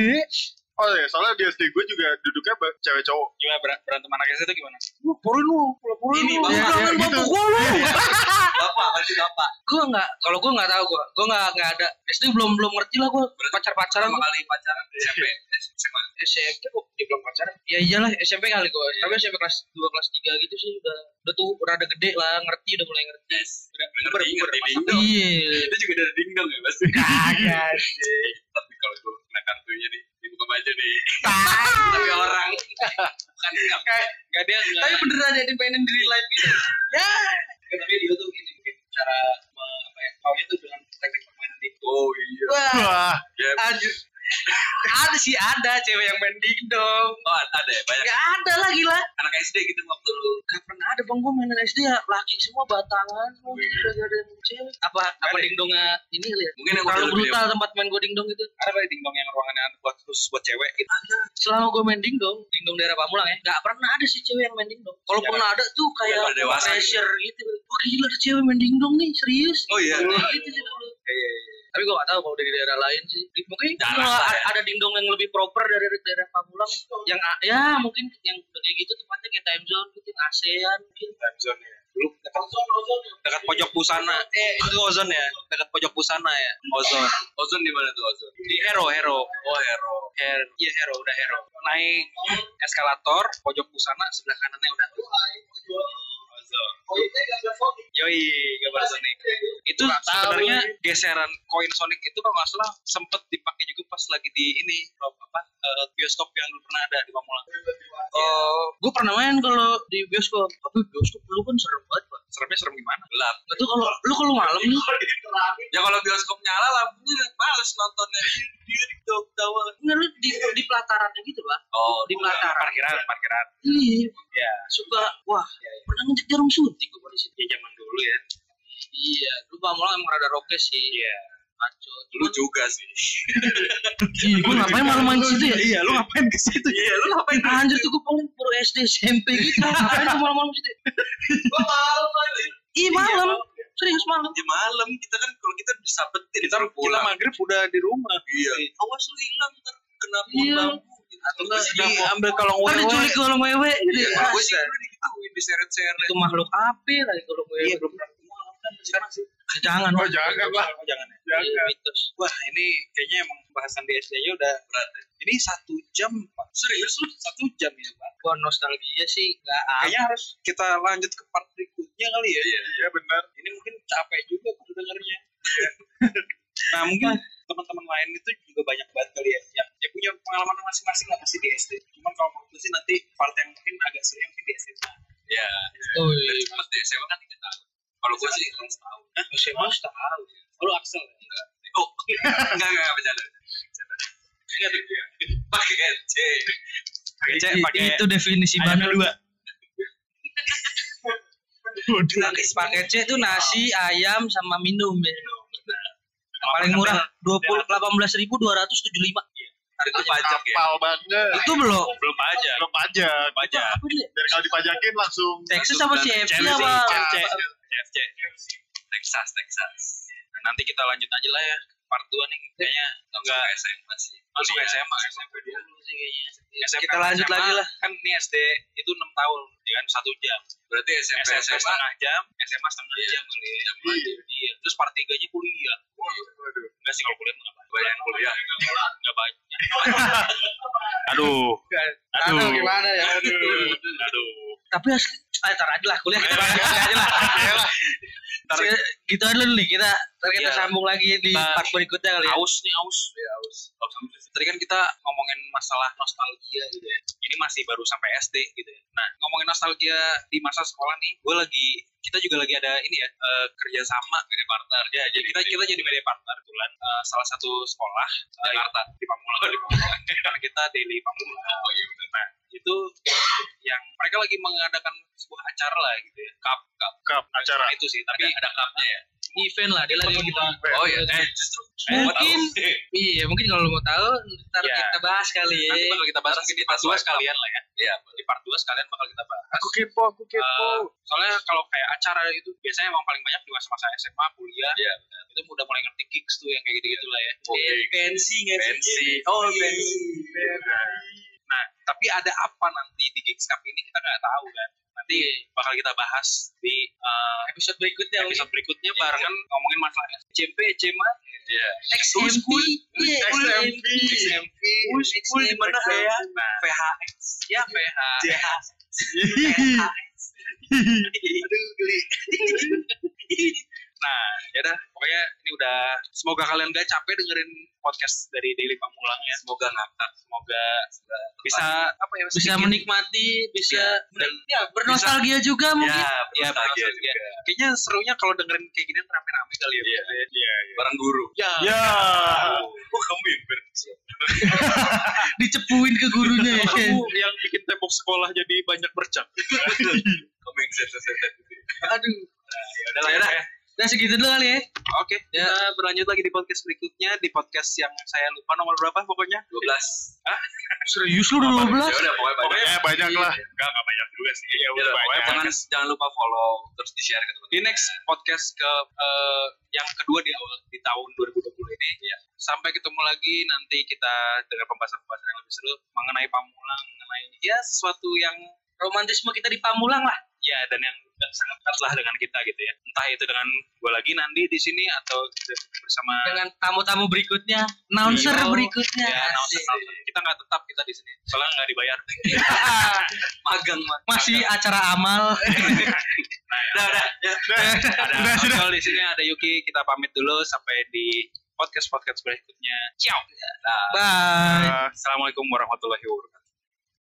Oh ya, soalnya di SD gue juga duduknya ba- cewek cowok. gimana ber- berantem anak SD itu gimana Wah, purin lu, purin Ini, lu. Bang. Jangan Ya, main gitu. babak gua lu. bapak pasti bapak Gua enggak, kalau gua enggak tahu gua. Gua enggak enggak ada. SD belum belum ngerti lah gua Berarti pacar-pacaran pertama gua kali pacaran Iya. ya? Eh, SMP SMA SMP gua belum pacaran. Ya iyalah SMP kali gua. Tapi SMP kelas 2 kelas 3 gitu sih udah udah tuh rada gede lah, ngerti udah mulai ngerti. Yes, denger inget dingdong. Iya. Itu juga dari dingdong ya pasti. Kagak. Tapi kalau gue kena kartunya nih, dibuka baju nih. Tapi orang bukan enggak. Gak dia nggak- Tapi beneran ya dimainin di live gitu. Ya. tapi dia tuh gitu, gini mungkin cara me- apa ya kawinnya tuh dengan teknik permainan di Oh iya. Wah, Wah, anjir. Ada sih ada cewek yang main dingdong. Oh ada ada ya banyak Gak ada lagi lah. gila. anak SD gitu waktu lu. Gak pernah ada bang gue mainan SD ya laki semua batangan semua gitu gak ada yang cewek. Apa apa dingdongnya ini kali ya? Mungkin yang udah Terlalu lebih brutal tempat main gue dingdong itu. ada apa ya, dingdong yang ruangannya buat khusus buat cewek gitu Ah, Selama gue main dingdong, dingdong daerah Pamulang ya, gak pernah ada sih cewek yang main dingdong. Kalaupun ada tuh Ya, kayak pada dewasa pressure gitu. Wah gila ada cewek main dingdong nih serius. Oh iya. Kayak gitu sih dulu. Tapi gue gak tahu kalau dari daerah lain sih. Mungkin Jarang malah lah ada, ya. ada dingdong yang lebih proper dari daerah Pamulang. Yang a- ya mungkin yang kayak gitu tempatnya kayak time zone gitu, yang ASEAN gitu. mungkin. time zone ya dulu dekat dekat pojok pusana eh itu ozon ya dekat pojok pusana ya ozon Ozon di mana tuh Ozon? di hero hero Oh Hero. Her, iya hero udah hero naik eskalator pojok pusana sebelah kanannya udah ozon yoi gambar Sonic itu sebenarnya geseran koin Sonic itu kalau nggak salah sempet dipakai juga pas lagi di ini apa eh, bioskop yang dulu pernah ada di Pamulang Oh, gue pernah main kalau di bioskop. Tapi bioskop lu kan serem banget, Pak. seremnya serem gimana Gelap. Nggak tuh kalau lu kalau malam nih, Ya kalau bioskop nyala lampunya males nontonnya. Dia di dong tawa. nggak lu di, di pelatarannya gitu, Pak. Oh Di pelataran. parkiran parkiran Iya, ya suka. Wah, pernah ngejek jarum suntik gue di situ. ya zaman dulu ya Iya, lu Pamulang emang rada rokes sih. iya Maco. Lu juga sih. Iya, gue ngapain malam main situ ya? iya lu ngapain ke situ Iya lu ngapain? Anjir tuh gue paling baru SD SMP gitu. Ngapain gue malam-malam situ? Gua malam aja. Iya malam, serius malam. Ya malam kita kan kalau kita disabetin kita, kita pulang. maghrib udah di rumah Iya. Awas lu hilang ntar kena pohon Iya. bambu. gitu. Atau enggak sih diambil kalau Ntar diculik kalau wewe. Iya, Gitu. gue sih dulu digituin diseret-seret. Itu makhluk apa lagi kalau wewe? iya iya. belum pernah ketemu, alhamdulillah, sekarang sih Jangan. Oh, jangan lah. Oh, jangan. ya. Iya. Jangan. mitos Wah, ini kayaknya emang bahasan di SD aja udah berat. ya. Ini satu jam, Pak. Serius lu? Satu jam ya, Pak. gua nostalgia sih nggak Kayaknya harus kita lanjut ke part berikutnya kali ya. Iya benar. Ini mungkin capek juga kalau dengernya. nah, mungkin teman-teman lain itu juga banyak banget kali ya. Ya, ya punya pengalaman masing-masing lah pasti di SD. Cuman kalau menurut gue sih nanti part yang mungkin agak seru yang mungkin di SMA. ya Oh dan iya. cuma di SMA kan tiga tahun kalau gua sih Hah? SMA tahu. Kalau Axel oh enggak enggak enggak bercanda Bercanda. pakai C Cek pakai itu definisi ayam bandel dua. Nasi pakai C itu nasi ayam sama minum ya. Yang paling murah dua puluh delapan belas ribu dua ratus tujuh lima. harga pajak ya Kapal banget. Itu belum. belum pajak Belum pajak. pajak Apa dia? Dari kalau dipajakin langsung. Texas apa Dan CFC CFC, apa? CFC, CFC, CFC. Texas, Texas. Nanti kita lanjut aja lah ya part 2 nih kayaknya enggak SMA sih. Langsung ya. ke SMA, SMP dulu sih kayaknya. SMP, Kita lanjut SMA, lagi lah. Kan ini SD itu 6 tahun, ya kan 1 jam. Berarti SMP, SMP SMA, setengah jam, SMA setengah Iya, jam kali. ya. setengah Iya. Iya. Terus part tiganya kuliah. Waduh. Enggak sih kalau kuliah mah enggak bayangin kuliah. banyak. Enggak banyak. Aduh. Aduh. Aduh, gimana ya? Aduh. Tapi asli, ah, ntar aja lah kuliah kita bahas aja lah. Ntar. Se- Gitu aja dulu nih kita, ntar kita Iya. sambung lagi di Kita- part berikutnya kali ya. Aus nih, aus. Ya, aus. Tadi kan kita ngomongin masalah nostalgia gitu ya. Ini masih baru sampai SD gitu ya. Nah, ngomongin nostalgia di masa sekolah nih, gue lagi kita juga lagi ada ini ya eh, kerjasama media partner ya jadi kita kita jadi media partner kebetulan eh, salah satu sekolah eh, Jakarta di Pamulang di Pamulang karena kita daily Pamulang oh, iya, nah itu yang mereka lagi mengadakan sebuah acara lah gitu ya cup cup Nah, Kap acara. itu sih tapi ada, cupnya ya Event lah, dia lagi mau- oh iya eh justru Mungkin. Eh, Iya, mungkin kalau lu mau tahu ntar Iya. kita bahas kali ya. Nanti bakal kita bahas mungkin di part 2 sekalian lah ya. Iya, di part 2 sekalian bakal kita bahas. Aku kepo, aku Eh, kepo. soalnya kalau kayak acara itu biasanya emang paling banyak di masa-masa SMA, kuliah. Iya. Itu udah mulai ngerti gigs tuh yang kayak gitu-gitu lah ya. Iya, Pensi nggak sih? Oh, pensi. Iya. Nah, tapi ada apa nanti di gigs cup ini kita nggak tahu kan. Nanti bakal kita bahas di eh, Episode berikutnya episode berikutnya barengan ngomongin masalah SMP, SMA, XMP. Iya, XMP. SMP, Uy, gimana ya? Nah, PHX. ya PH. Aduh, geli. Nah, ya dah, pokoknya ini udah semoga kalian gak capek dengerin podcast dari Daily Pamulang ya. Semoga ngakak, semoga bisa apa ya Bisa sedikit- Iya. menikmati, bisa dan ya, bernostalgia juga ya, mungkin. ya bahagia juga. Kayaknya serunya kalau dengerin kayak gini rame-rame kali ya. Iya, iya. Bareng guru. Ya, Ya. Oh, kamu yang ber- dicepuin ke gurunya ya. Kamu yang bikin tembok sekolah jadi banyak bercak. kamu yang set-set-set. Aduh. Ya udah lah, ya dah. Nah, segitu dulu kali ya. Oke, kita berlanjut lagi di podcast berikutnya di podcast yang saya lupa nomor berapa pokoknya. 12. Ah, Serius lu udah Ya 12? udah pokoknya banyak. Pokoknya banyak lah. Enggak, enggak banyak juga sih. Ya Ya udah, udah pokoknya banyak. jangan jangan lupa follow terus di share ke teman di next podcast ke eh, yang kedua di awal di tahun 2020 ini Iya. ya sampai ketemu lagi nanti kita dengan pembahasan-pembahasan yang lebih seru mengenai pamulang mengenai ya sesuatu yang Romantisme kita di Pamulang lah. ya dan yang sangat dekat lah dengan kita gitu ya entah itu dengan gue lagi nanti di sini atau bersama Dengan tamu-tamu berikutnya, announcer Iya. berikutnya. ya announcer- Asik. announcer. kita nggak tetap kita di sini soalnya nggak dibayar Iya. magang magang. Masih acara amal. Udah, udah. Ada Udah, sudah. Abdul di sini, ada Yuki. Kita pamit dulu sampai di podcast podcast berikutnya. Ciao. Dah. Bye. Assalamualaikum warahmatullahi wabarakatuh.